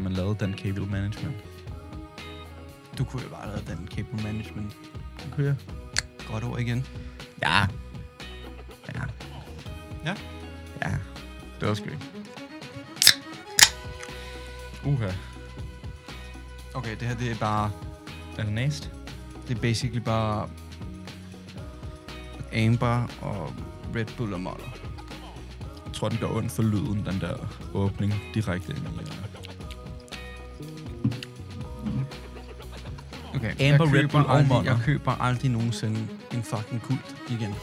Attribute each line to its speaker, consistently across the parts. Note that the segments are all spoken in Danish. Speaker 1: man lavede den cable management. Du kunne jo bare have lavet den cable management.
Speaker 2: Kunne jeg?
Speaker 1: Godt ord igen.
Speaker 2: Ja. Ja.
Speaker 1: Ja.
Speaker 2: Ja. Det var sgu ikke. Uha.
Speaker 1: Okay, det her det er bare...
Speaker 2: Er det næst?
Speaker 1: Det er basically bare... Amber og Red Bull og Modder.
Speaker 2: Jeg tror, den gør ondt for lyden, den der åbning direkte ind i øh,
Speaker 1: Okay,
Speaker 2: Amber,
Speaker 1: jeg
Speaker 2: Red
Speaker 1: køber
Speaker 2: Bull og
Speaker 1: aldrig,
Speaker 2: Modder.
Speaker 1: Jeg køber aldrig nogensinde en fucking kult igen.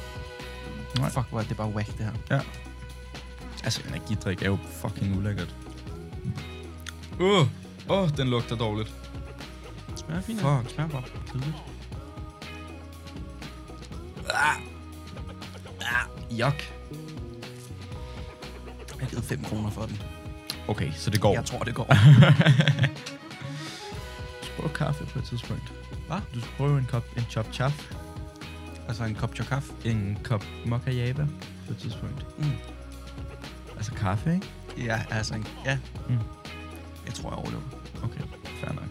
Speaker 2: Nej.
Speaker 1: Fuck, hvor er det bare whack, det her.
Speaker 2: Altså, energidrik er jo fucking ulækkert. Åh, uh, oh, den lugter dårligt.
Speaker 1: Smager fint.
Speaker 2: Fuck.
Speaker 1: Fuck. Smager bare kedeligt.
Speaker 2: Jok.
Speaker 1: Jeg har givet 5 kroner for den.
Speaker 2: Okay, så det går.
Speaker 1: Jeg tror, det går.
Speaker 2: du skal prøve kaffe på et tidspunkt.
Speaker 1: Hvad?
Speaker 2: Du skal prøve en kop en chop chop.
Speaker 1: altså en kop kaffe.
Speaker 2: En kop mokka java på et tidspunkt.
Speaker 1: Mm.
Speaker 2: Altså kaffe, ikke?
Speaker 1: Ja, altså en... Ja.
Speaker 2: Mm.
Speaker 1: Jeg tror, jeg overlever.
Speaker 2: Okay, fair nok.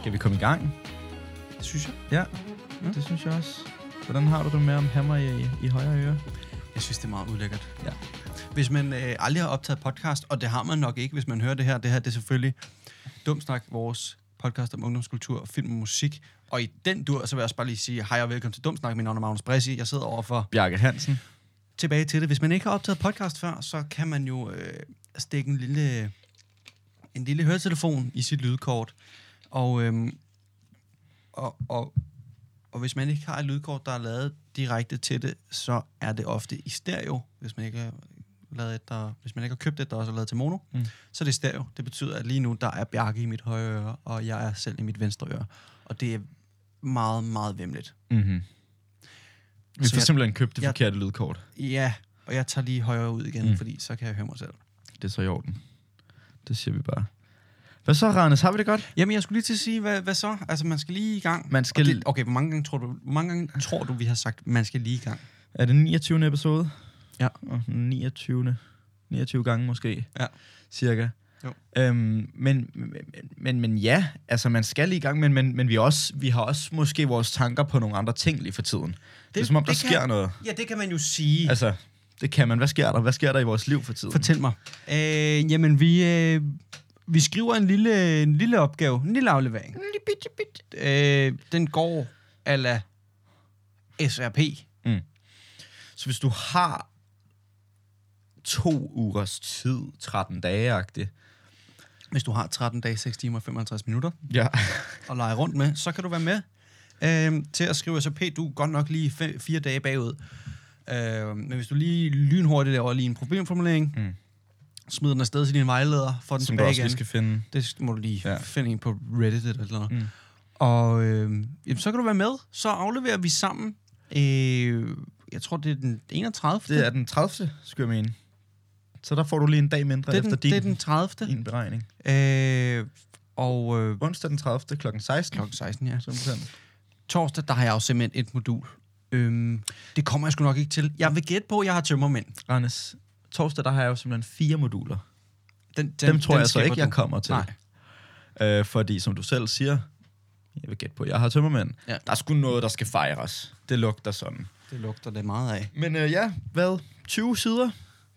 Speaker 2: Skal vi komme i gang?
Speaker 1: Det synes jeg.
Speaker 2: Ja,
Speaker 1: Mm.
Speaker 2: det synes jeg også. Hvordan har du det med om hammer i, i højre øre?
Speaker 1: Jeg synes, det er meget ulækkert.
Speaker 2: Ja.
Speaker 1: Hvis man øh, aldrig har optaget podcast, og det har man nok ikke, hvis man hører det her. Det her det er selvfølgelig Dumsnak, vores podcast om ungdomskultur, film og musik. Og i den dur, så vil jeg også bare lige sige hej og velkommen til Dumsnak. Mit navn er Magnus Bressi. Jeg sidder overfor
Speaker 2: Bjarke Hansen.
Speaker 1: tilbage til det. Hvis man ikke har optaget podcast før, så kan man jo øh, stikke en lille, en lille høretelefon i sit lydkort. Og, øhm, og, og, og hvis man ikke har et lydkort, der er lavet direkte til det, så er det ofte i stereo, hvis man ikke har lavet et, der, hvis man ikke har købt et, der også er lavet til mono,
Speaker 2: Mm.
Speaker 1: mm. så er det stereo. Det betyder, at lige nu, der er Bjarke i mit højre øre, og jeg er selv i mit venstre øre. Og det er meget, meget vemmeligt.
Speaker 2: Mm-hmm. Vi
Speaker 1: Så
Speaker 2: får
Speaker 1: jeg-
Speaker 2: simpelthen købt det
Speaker 1: jeg-
Speaker 2: forkerte lydkort.
Speaker 1: Ja, og jeg tager lige højre ud igen,
Speaker 2: Mm.
Speaker 1: mm. fordi så kan jeg høre mig selv.
Speaker 2: Det er så i orden. Det siger vi bare. Hvad så, Randes? Har vi det godt?
Speaker 1: Jamen, jeg skulle lige til at sige, hvad, hvad så? Altså, man skal lige i gang.
Speaker 2: Man skal-
Speaker 1: Og Det, okay, hvor mange, gange tror du, hvor mange gange tror du, vi har sagt, man skal lige i gang?
Speaker 2: Er det 29. episode?
Speaker 1: Ja.
Speaker 2: Og 29. 29 gange måske.
Speaker 1: Ja.
Speaker 2: Cirka.
Speaker 1: Jo.
Speaker 2: Øhm, men, men, men, men ja, altså man skal lige i gang, men, men, men vi, er også, vi har også måske vores tanker på nogle andre ting lige for tiden. Det, det er som om, der
Speaker 1: det
Speaker 2: sker
Speaker 1: kan-
Speaker 2: noget.
Speaker 1: Ja, det kan man jo sige. Altså,
Speaker 2: Altså, det kan man. Hvad sker der? Hvad sker der i vores liv for tiden?
Speaker 1: Fortæl mig. Øh, jamen, vi, øh, vi skriver en lille, en lille opgave, en lille aflevering. En lille bitte, bitte. Øh, den går ala SRP.
Speaker 2: Så hvis du har to ugers tid, 13 dage-agtigt,
Speaker 1: Hvis du har 13 dage, 6 timer og 55 minutter
Speaker 2: ja.
Speaker 1: at lege rundt med, så kan du være med øh, til at skrive SRP. Du er godt nok lige fe- fire dage bagud. Øh, men hvis du lige lynhurtigt laver lige en problemformulering,
Speaker 2: Mm.
Speaker 1: mm. smider den afsted til din vejleder, får den
Speaker 2: som du
Speaker 1: tilbage
Speaker 2: også
Speaker 1: igen.
Speaker 2: lige skal finde.
Speaker 1: Det må du lige
Speaker 2: Ja.
Speaker 1: ja. finde en på Reddit eller et eller andet.
Speaker 2: Mm.
Speaker 1: Mm. Og øh, jamen, så kan du være med. Så afleverer vi sammen. Øh, jeg tror, det er den 31.
Speaker 2: Det er den 30. skulle jeg mene. Så der får du lige en dag mindre
Speaker 1: det er
Speaker 2: efter
Speaker 1: den,
Speaker 2: din,
Speaker 1: det er den 30.
Speaker 2: din beregning.
Speaker 1: Øh, og øh,
Speaker 2: Onsdag den 30. kl. 16.
Speaker 1: klokken 16, ja.
Speaker 2: Simpelthen.
Speaker 1: Torsdag, der har jeg jo simpelthen et modul. Øhm, det kommer jeg sgu nok ikke til. Jeg vil gætte på, at jeg har tømmermænd.
Speaker 2: Randes, torsdag der har jeg jo simpelthen fire moduler.
Speaker 1: Den, den,
Speaker 2: Dem tror jeg så
Speaker 1: skipper
Speaker 2: ikke,
Speaker 1: du.
Speaker 2: jeg kommer til.
Speaker 1: Nej.
Speaker 2: Øh, fordi som du selv siger, jeg vil gætte på, jeg har tømmermænd.
Speaker 1: Ja.
Speaker 2: Der er sgu noget, der skal fejres. Det lugter sådan.
Speaker 1: Det lugter det meget af.
Speaker 2: Men øh, ja, hvad? 20 sider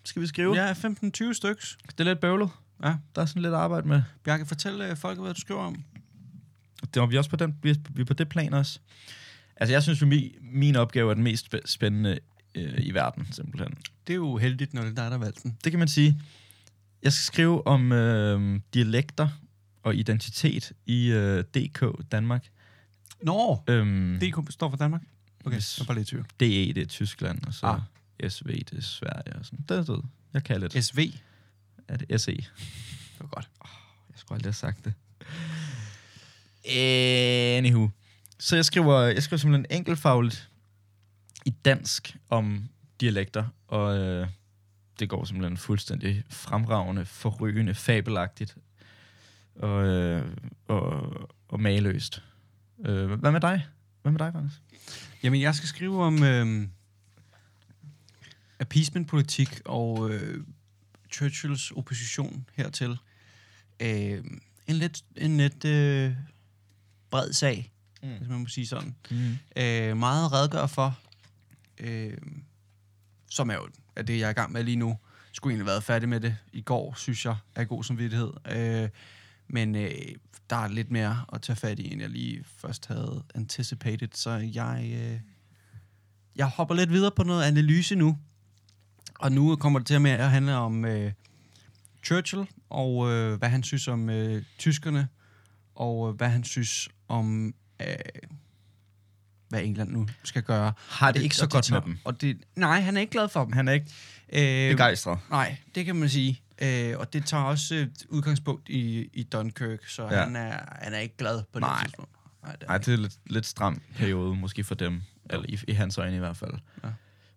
Speaker 2: skal vi skrive?
Speaker 1: Jeg er 15-20 styks.
Speaker 2: Det er lidt bøvlet.
Speaker 1: Ja.
Speaker 2: Der er sådan lidt arbejde med.
Speaker 1: Bjarke, fortæl øh, folk, hvad du skriver om.
Speaker 2: Det var vi også på, den, vi, vi er på det plan også. Altså, jeg synes jo, mi, min opgave er den mest spæ- spændende øh, i verden, simpelthen.
Speaker 1: Det er jo heldigt, når det er dig, der valgte den.
Speaker 2: Det kan man sige. Jeg skal skrive om øh, dialekter og identitet i øh, DK Danmark.
Speaker 1: Nå,
Speaker 2: Øhm,
Speaker 1: DK står for Danmark. Okay,
Speaker 2: Yes.
Speaker 1: yes. jeg var lidt i tvivl.
Speaker 2: DE, det er Tyskland, og så
Speaker 1: Ah.
Speaker 2: ah. SV, det er Sverige og sådan. Det er det. Jeg kan lidt.
Speaker 1: SV. Det
Speaker 2: Er det SE?
Speaker 1: var godt.
Speaker 2: Jeg skulle aldrig have sagt det. Anywho. Så jeg skriver, jeg skriver simpelthen enkeltfagligt i dansk om dialekter, og øh, det går simpelthen fuldstændig fremragende, forrygende, fabelagtigt og, øh, og, og mageløst. Øh, hvad med dig? Hvad med dig, Anders?
Speaker 1: Jamen, jeg skal skrive om... Øh, øhm, appeasement-politik og øh, Churchills opposition hertil. Øh, en lidt, en lidt øh, bred sag, mm.
Speaker 2: Mm.
Speaker 1: hvis man må sige sådan.
Speaker 2: Mm.
Speaker 1: Øh, meget redegør for, øh, som er jo er det, jeg er i gang med lige nu. Skulle egentlig have været færdig med det i går, synes jeg, er god samvittighed. Øh, men øh, der er lidt mere at tage fat i, end jeg lige først havde anticipated. Så jeg, øh, jeg hopper lidt videre på noget analyse nu. Og nu kommer det til at mere at handle om øh, Churchill, og øh, hvad han synes om øh, tyskerne, og øh, hvad han synes om, øh, hvad England nu skal gøre.
Speaker 2: Har
Speaker 1: Og
Speaker 2: det ikke så
Speaker 1: og
Speaker 2: godt med
Speaker 1: tager-
Speaker 2: dem?
Speaker 1: Og det, nej, han er ikke glad for dem.
Speaker 2: Han er ikke
Speaker 1: Øh,
Speaker 2: begejstret.
Speaker 1: Nej, det kan man sige. Øh, og det tager også øh, udgangspunkt i, i Dunkirk, så ja.
Speaker 2: Ja.
Speaker 1: han, er, han er ikke glad på
Speaker 2: Nej.
Speaker 1: det tidspunkt. Nej, det er
Speaker 2: Nej,
Speaker 1: han ikke.
Speaker 2: det er lidt, lidt stram periode, måske for dem. Eller i, i hans øjne i hvert fald.
Speaker 1: Ja.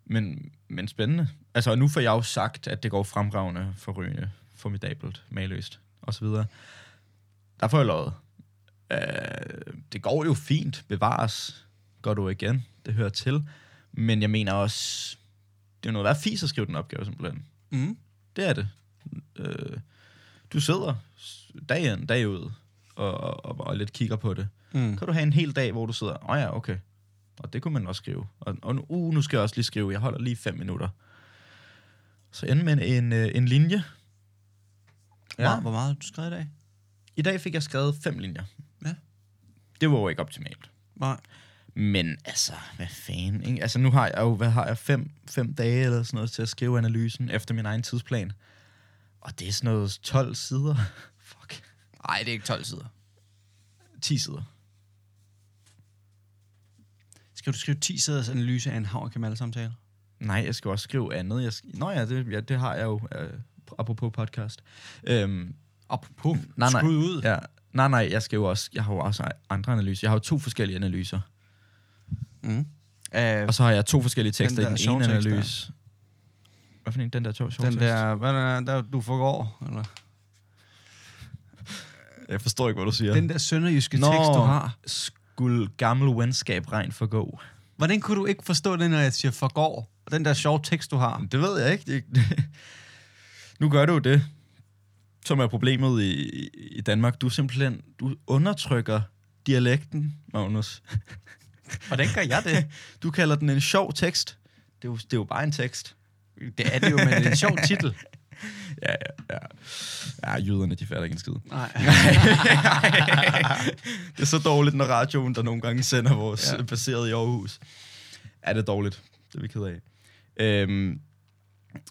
Speaker 2: Men, men spændende. Altså, og nu får jeg jo sagt, at det går fremragende, forrygende, formidabelt, mageløst, og så videre. Der får jeg lovet. Øh, det går jo fint, bevares, går du igen, det hører til. Men jeg mener også, det er noget værd fis at skrive den opgave, simpelthen.
Speaker 1: Mm.
Speaker 2: Det er det. Øh, du sidder s- dag ind, dag ud, og, og, og, og lidt kigger på det
Speaker 1: Mm.
Speaker 2: kan du have en hel dag, hvor du sidder, åh oh ja, okay. Og det kunne man også skrive. Og, og nu, uh, nu skal jeg også lige skrive, jeg holder lige fem minutter. Så ender med en, øh, en linje.
Speaker 1: Ja. Wow, hvor meget har du skrevet i dag?
Speaker 2: I dag fik jeg skrevet fem linjer.
Speaker 1: Ja.
Speaker 2: Det var jo ikke optimalt.
Speaker 1: Nej.
Speaker 2: Men altså, hvad fanden, ikke? Altså, nu har jeg jo, hvad har jeg, fem, fem dage eller sådan noget til at skrive analysen efter min egen tidsplan. Og det er sådan noget 12 sider. Fuck.
Speaker 1: Nej, det er ikke 12 sider.
Speaker 2: 10 sider.
Speaker 1: Skal du skrive 10 siders analyse af en havn samtale?
Speaker 2: Nej, jeg skal også skrive andet. Jeg skal... Nå ja det, ja, det har jeg jo, øh, apropos podcast. Øhm,
Speaker 1: Apropos,
Speaker 2: nej, nej.
Speaker 1: skud ud.
Speaker 2: ja, nej, nej, jeg skal jo også, jeg har jo også andre analyser. Jeg har jo to forskellige analyser.
Speaker 1: Mm. Øh,
Speaker 2: Og så har jeg to forskellige tekster
Speaker 1: der
Speaker 2: i den ene
Speaker 1: sjovtekst der.
Speaker 2: analyse. Hvad for en, den der sjov
Speaker 1: den
Speaker 2: sjovtekst?
Speaker 1: der, hvad er det, der, du forgår? Eller?
Speaker 2: Jeg forstår ikke, hvad du siger.
Speaker 1: Ja. Den der sønderjyske
Speaker 2: Nå.
Speaker 1: tekst, du har.
Speaker 2: skulle gammel venskab regn forgå.
Speaker 1: Hvordan kunne du ikke forstå det, når jeg siger forgår? Og den der sjove tekst, du har.
Speaker 2: Det ved jeg ikke. Det- nu gør du jo det, som er problemet i, i Danmark. Du simpelthen, du undertrykker dialekten, Magnus.
Speaker 1: Hvordan gør jeg det?
Speaker 2: Du kalder den en sjov tekst. Det er jo, det er jo bare en tekst.
Speaker 1: det er det jo, men det er en sjov titel.
Speaker 2: Ja, ja, ja. Ja, jyderne, de fatter ikke en skid.
Speaker 1: Nej.
Speaker 2: det er så dårligt, når radioen, der nogle gange sender vores
Speaker 1: Ja.
Speaker 2: ja. baseret i Aarhus. Er det dårligt? Det er vi ked af. Øhm,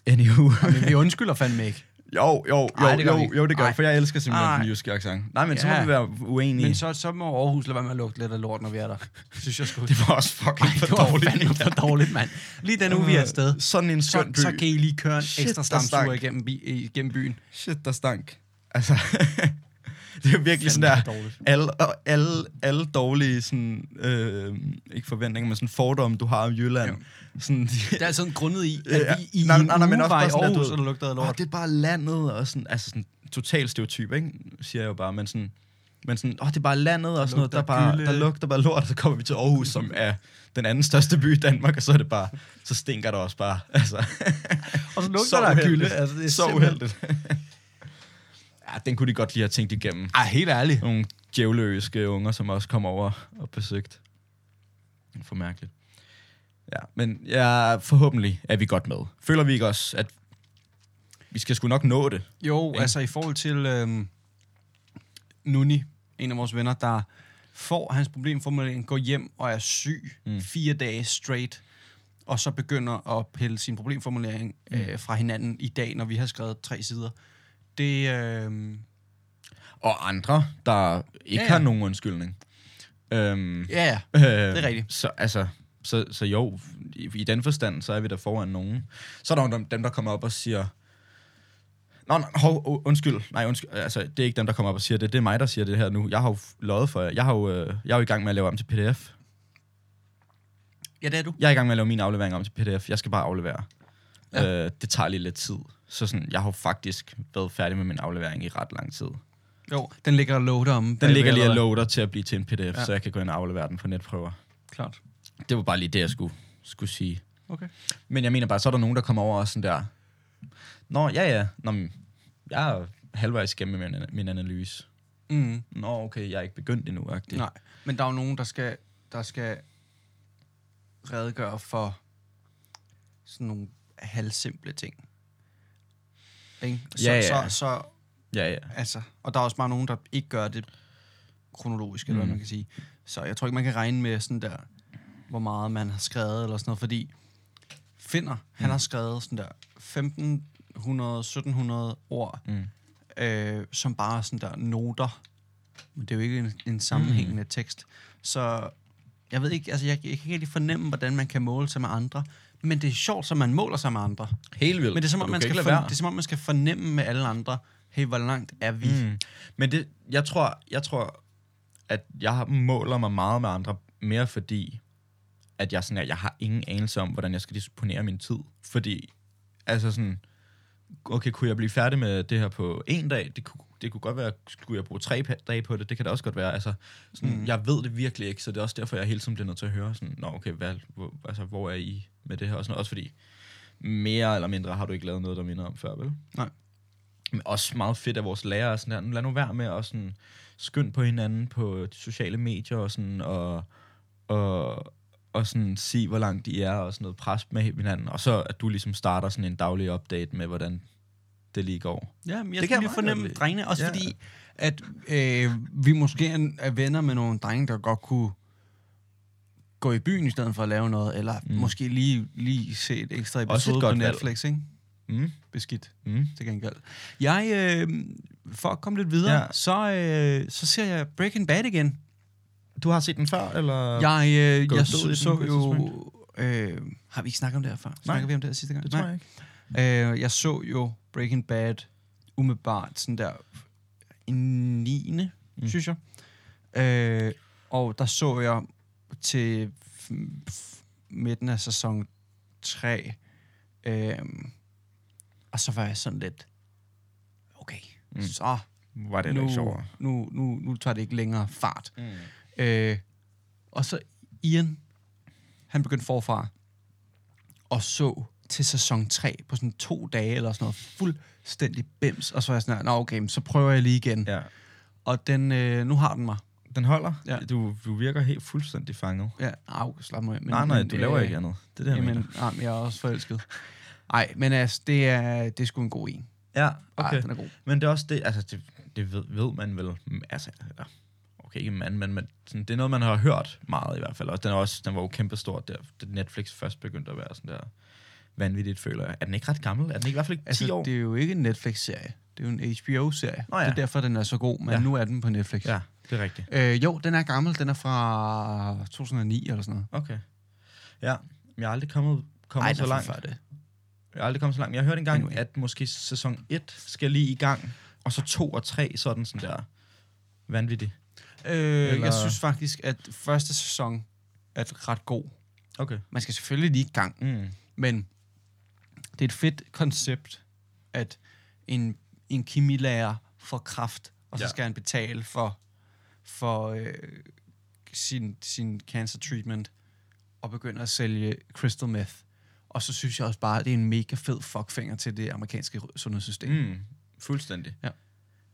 Speaker 2: anywho.
Speaker 1: Men vi undskylder fandme ikke.
Speaker 2: Jo, jo, jo,
Speaker 1: Ej,
Speaker 2: Ej,
Speaker 1: det
Speaker 2: det
Speaker 1: gør
Speaker 2: jo,
Speaker 1: vi ikke.
Speaker 2: jo, det gør
Speaker 1: Ej.
Speaker 2: jeg, for jeg elsker simpelthen
Speaker 1: Ej.
Speaker 2: Ej. den jyske accent. Nej, men ja. så
Speaker 1: Ja.
Speaker 2: må vi være uenige.
Speaker 1: Men
Speaker 2: Så...
Speaker 1: så, så må Aarhus lade være med at lukke lidt af lort, når vi er der. Synes jeg sgu.
Speaker 2: Det var også fucking
Speaker 1: Ej,
Speaker 2: for
Speaker 1: det var
Speaker 2: dårligt.
Speaker 1: fandme for dårligt, Øh, mand. Lige den uge, vi er afsted.
Speaker 2: Sådan en
Speaker 1: Så,
Speaker 2: skøn by.
Speaker 1: så kan I lige køre en
Speaker 2: Shit,
Speaker 1: ekstra
Speaker 2: der
Speaker 1: stamsuger
Speaker 2: stank.
Speaker 1: igennem, bi- igennem byen.
Speaker 2: Shit, der stank. Altså, det er virkelig sådan
Speaker 1: Fandme
Speaker 2: der,
Speaker 1: dårligt.
Speaker 2: alle, og alle, alle dårlige, sådan, øh, ikke forventninger, men sådan fordomme, du har om Jylland. Sådan,
Speaker 1: Det er altså en grundet i, at
Speaker 2: Ja.
Speaker 1: vi i
Speaker 2: Nej,
Speaker 1: en
Speaker 2: nej, nej, men
Speaker 1: uge
Speaker 2: også
Speaker 1: var
Speaker 2: bare
Speaker 1: i
Speaker 2: sådan, at du-
Speaker 1: Aarhus, Ah, og der lugtede af
Speaker 2: Åh,
Speaker 1: lort.
Speaker 2: det er bare landet, og sådan, altså sådan, total stereotyp, ikke? Siger jeg jo bare, men sådan, men sådan, åh, det er bare landet og sådan noget, der,
Speaker 1: Lugter
Speaker 2: bare,
Speaker 1: gylde.
Speaker 2: der lugter bare lort, og så kommer vi til Aarhus, som er den anden største by i Danmark, og så er det bare, så stinker det også bare, altså.
Speaker 1: Og så
Speaker 2: så
Speaker 1: lugter der af
Speaker 2: uheldigt.
Speaker 1: gylde. Altså, det er
Speaker 2: så
Speaker 1: simpelthen-
Speaker 2: uheldigt. ja, den kunne de godt lige have tænkt igennem.
Speaker 1: Ej, helt ærligt.
Speaker 2: Nogle djævløske unger, som også kom over og besøgte. For mærkeligt. Ja, men ja, forhåbentlig er vi godt med. Føler vi ikke også, at vi skal sgu nok nå det?
Speaker 1: Jo,
Speaker 2: Ikke?
Speaker 1: altså i forhold til øhm, Nuni, en af vores venner, der får hans problemformulering, går hjem og er syg mm.
Speaker 2: Mm.
Speaker 1: fire dage straight, og så begynder at pille sin problemformulering mm. øh, fra hinanden i dag, når vi har skrevet tre sider. Det, øhm,
Speaker 2: og andre, der ikke ja,
Speaker 1: Ja, ja.
Speaker 2: ja. har nogen undskyldning. Øhm, ja,
Speaker 1: ja, ja,
Speaker 2: øh,
Speaker 1: det er rigtigt.
Speaker 2: Så, altså, så, så jo, i, i den forstand, så er vi der foran nogen. Så er der jo dem, dem der kommer op og siger, Nå, nej, hov, u- undskyld. Nej, undskyld. Altså, det er ikke dem, der kommer op og siger det. Det er mig, der siger det her nu. Jeg har jo f- løjet for jer. Jeg, har jo, øh, jeg er jo i gang med at lave om til pdf.
Speaker 1: ja, det er du.
Speaker 2: Jeg er i gang med at lave min aflevering om til pdf. Jeg skal bare aflevere. Ja. Øh, det tager lige lidt tid. Så sådan, jeg har jo faktisk været færdig med min aflevering i ret lang tid.
Speaker 1: Jo, den ligger og loader om.
Speaker 2: Den
Speaker 1: bagved,
Speaker 2: ligger lige
Speaker 1: eller
Speaker 2: og
Speaker 1: hvad?
Speaker 2: loader til at blive til en pdf,
Speaker 1: Ja.
Speaker 2: ja. så jeg kan gå ind og aflevere den på netprøver.
Speaker 1: Klart.
Speaker 2: Det var bare lige det, jeg skulle, skulle sige.
Speaker 1: Okay.
Speaker 2: Men jeg mener bare, så er der nogen, der kommer over og sådan der, Nå, ja, ja, Nå, men jeg er halvvejs igennem min, min analyse.
Speaker 1: Mm.
Speaker 2: Nå, okay, jeg er ikke begyndt endnu, agtigt.
Speaker 1: Nej, men der er jo nogen, der skal, der skal redegøre for sådan nogle halvsimple ting. Ikke? Så,
Speaker 2: Ja, ja.
Speaker 1: Så, så,
Speaker 2: Ja, ja.
Speaker 1: altså, og der er også bare nogen, der ikke gør det kronologisk, eller hvad
Speaker 2: Mm.
Speaker 1: man kan sige. Så jeg tror ikke, man kan regne med sådan der, hvor meget man har skrevet, eller sådan noget, fordi Finder,
Speaker 2: Mm.
Speaker 1: han har skrevet sådan der 1500-1700 ord,
Speaker 2: Mm.
Speaker 1: øh, som bare er sådan der noter. Men det er jo ikke en, en sammenhængende mm. tekst. Så jeg ved ikke, altså jeg, jeg kan ikke rigtig fornemme, hvordan man kan måle sig med andre. Men det er sjovt, så man måler sig med andre.
Speaker 2: Helt vildt.
Speaker 1: Men det er, som
Speaker 2: og
Speaker 1: om,
Speaker 2: du
Speaker 1: man
Speaker 2: kan
Speaker 1: skal
Speaker 2: ikke lade
Speaker 1: fornemme,
Speaker 2: være.
Speaker 1: det er som om, man skal fornemme med alle andre, hey, hvor langt er vi? Mm.
Speaker 2: Mm. Men det, jeg tror, jeg tror, at jeg har- måler mig meget med andre, mere fordi, at jeg, sådan, at jeg har ingen anelse om, hvordan jeg skal disponere min tid. Fordi, altså sådan, okay, kunne jeg blive færdig med det her på en dag? Det kunne, det kunne godt være, skulle jeg bruge tre pa- dage på det? Det kan da også godt være. Altså, sådan, mm. Jeg ved det virkelig ikke, så det er også derfor, jeg hele tiden bliver nødt til at høre, sådan, Nå, okay, hvad, hvor, altså, hvor er I med det her? Og sådan, noget. også fordi, mere eller mindre har du ikke lavet noget, der minder om før, vel?
Speaker 1: Nej.
Speaker 2: Men også meget fedt af vores lærere, er sådan der, "Nu lad nu være med at sådan skynde på hinanden på de sociale medier og sådan, og, og, og sådan sige, hvor langt de er, og sådan noget pres med hinanden. Og så, at du ligesom starter sådan en daglig update med, hvordan det lige går.
Speaker 1: Ja, men jeg
Speaker 2: Det
Speaker 1: det
Speaker 2: kan jeg
Speaker 1: kan
Speaker 2: meget godt
Speaker 1: lige fornemme
Speaker 2: lide.
Speaker 1: drengene, også
Speaker 2: Ja.
Speaker 1: ja. fordi, at øh, vi måske er- er venner med nogle drenge, der godt kunne gå i byen i stedet for at lave noget, eller mm. måske lige, lige se et ekstra
Speaker 2: et
Speaker 1: episode på
Speaker 2: godt valg.
Speaker 1: Netflix, ikke?
Speaker 2: Mm.
Speaker 1: Beskidt,
Speaker 2: Mm.
Speaker 1: til gengæld. Jeg, øh, for at komme lidt videre,
Speaker 2: Ja.
Speaker 1: ja. så, øh, så ser jeg Breaking Bad igen.
Speaker 2: Du har set den før, eller?
Speaker 1: Jeg, øh,
Speaker 2: Gå
Speaker 1: jeg
Speaker 2: død i den
Speaker 1: så,
Speaker 2: på
Speaker 1: så
Speaker 2: et
Speaker 1: jo... Øh, har vi ikke snakket om det her før? Snakker vi om det her sidste gang?
Speaker 2: Det tror jeg ikke.
Speaker 1: Øh, jeg så jo Breaking Bad umiddelbart sådan der i 9.
Speaker 2: Mm.
Speaker 1: Mm. synes jeg. Øh, og der så jeg til f- f- midten af sæson 3. Øh, og så var jeg sådan lidt, okay,
Speaker 2: Mm.
Speaker 1: mm. så
Speaker 2: Var det
Speaker 1: nu,
Speaker 2: ikke sjovere?
Speaker 1: nu, nu, nu tager det ikke længere fart.
Speaker 2: Mm.
Speaker 1: Øh, og så Ian, han begyndte forfra og så til sæson 3 på sådan to dage eller sådan noget fuldstændig bims. Og så var jeg sådan, her, nå okay, men så prøver jeg lige igen. Ja.
Speaker 2: Ja.
Speaker 1: Og den, øh, nu har den mig.
Speaker 2: Den holder?
Speaker 1: Ja.
Speaker 2: Du, du virker helt fuldstændig fanget.
Speaker 1: Ja, au, slap mig af, men,
Speaker 2: nej, nej, du
Speaker 1: øh,
Speaker 2: laver ikke andet. Det er det, jeg
Speaker 1: Jamen,
Speaker 2: mener.
Speaker 1: nej, men jeg er også forelsket. Nej, men altså, det er, det er sgu en god en.
Speaker 2: Ja,
Speaker 1: Ej,
Speaker 2: okay.
Speaker 1: den er god.
Speaker 2: Men det er også det, altså det, det ved, ved man vel, mm, altså, eller, okay ikke man, men man, sådan, det er noget, man har hørt meget i hvert fald, og den, er også, den var jo kæmpestor, der, da Netflix først begyndte at være sådan der vanvittigt, føler jeg. Er den ikke ret gammel? Er den ikke i hvert fald ikke 10
Speaker 1: Altså,
Speaker 2: år?
Speaker 1: det er jo ikke en Netflix-serie. Det er jo en HBO-serie.
Speaker 2: Nå ja.
Speaker 1: Det er derfor, den er så god, men
Speaker 2: Ja.
Speaker 1: ja. nu er den på Netflix.
Speaker 2: Ja, det er rigtigt.
Speaker 1: Øh, jo, den er gammel. Den er fra 2009 eller sådan noget.
Speaker 2: Okay. Ja, men jeg er aldrig kommet, kommet
Speaker 1: Ej,
Speaker 2: så
Speaker 1: den er
Speaker 2: langt.
Speaker 1: fra før det.
Speaker 2: Jeg er aldrig kommet så langt, men jeg hørte engang,
Speaker 1: Anyway.
Speaker 2: at måske sæson 1 skal lige i gang, og så 2 og 3, så er den sådan der vanvittig.
Speaker 1: Øh,
Speaker 2: Eller-
Speaker 1: Jeg synes faktisk, at første sæson er ret god.
Speaker 2: Okay.
Speaker 1: Man skal selvfølgelig lige i gang,
Speaker 2: Mm.
Speaker 1: men det er et fedt koncept, at en, en kemilærer får kraft, og så
Speaker 2: Ja.
Speaker 1: ja. skal han betale for, for øh, sin, sin cancer treatment, og begynder at sælge crystal meth. Og så synes jeg også bare, at det er en mega fed fuckfinger til det amerikanske sundhedssystem. Mm.
Speaker 2: Mm, fuldstændig.
Speaker 1: Ja.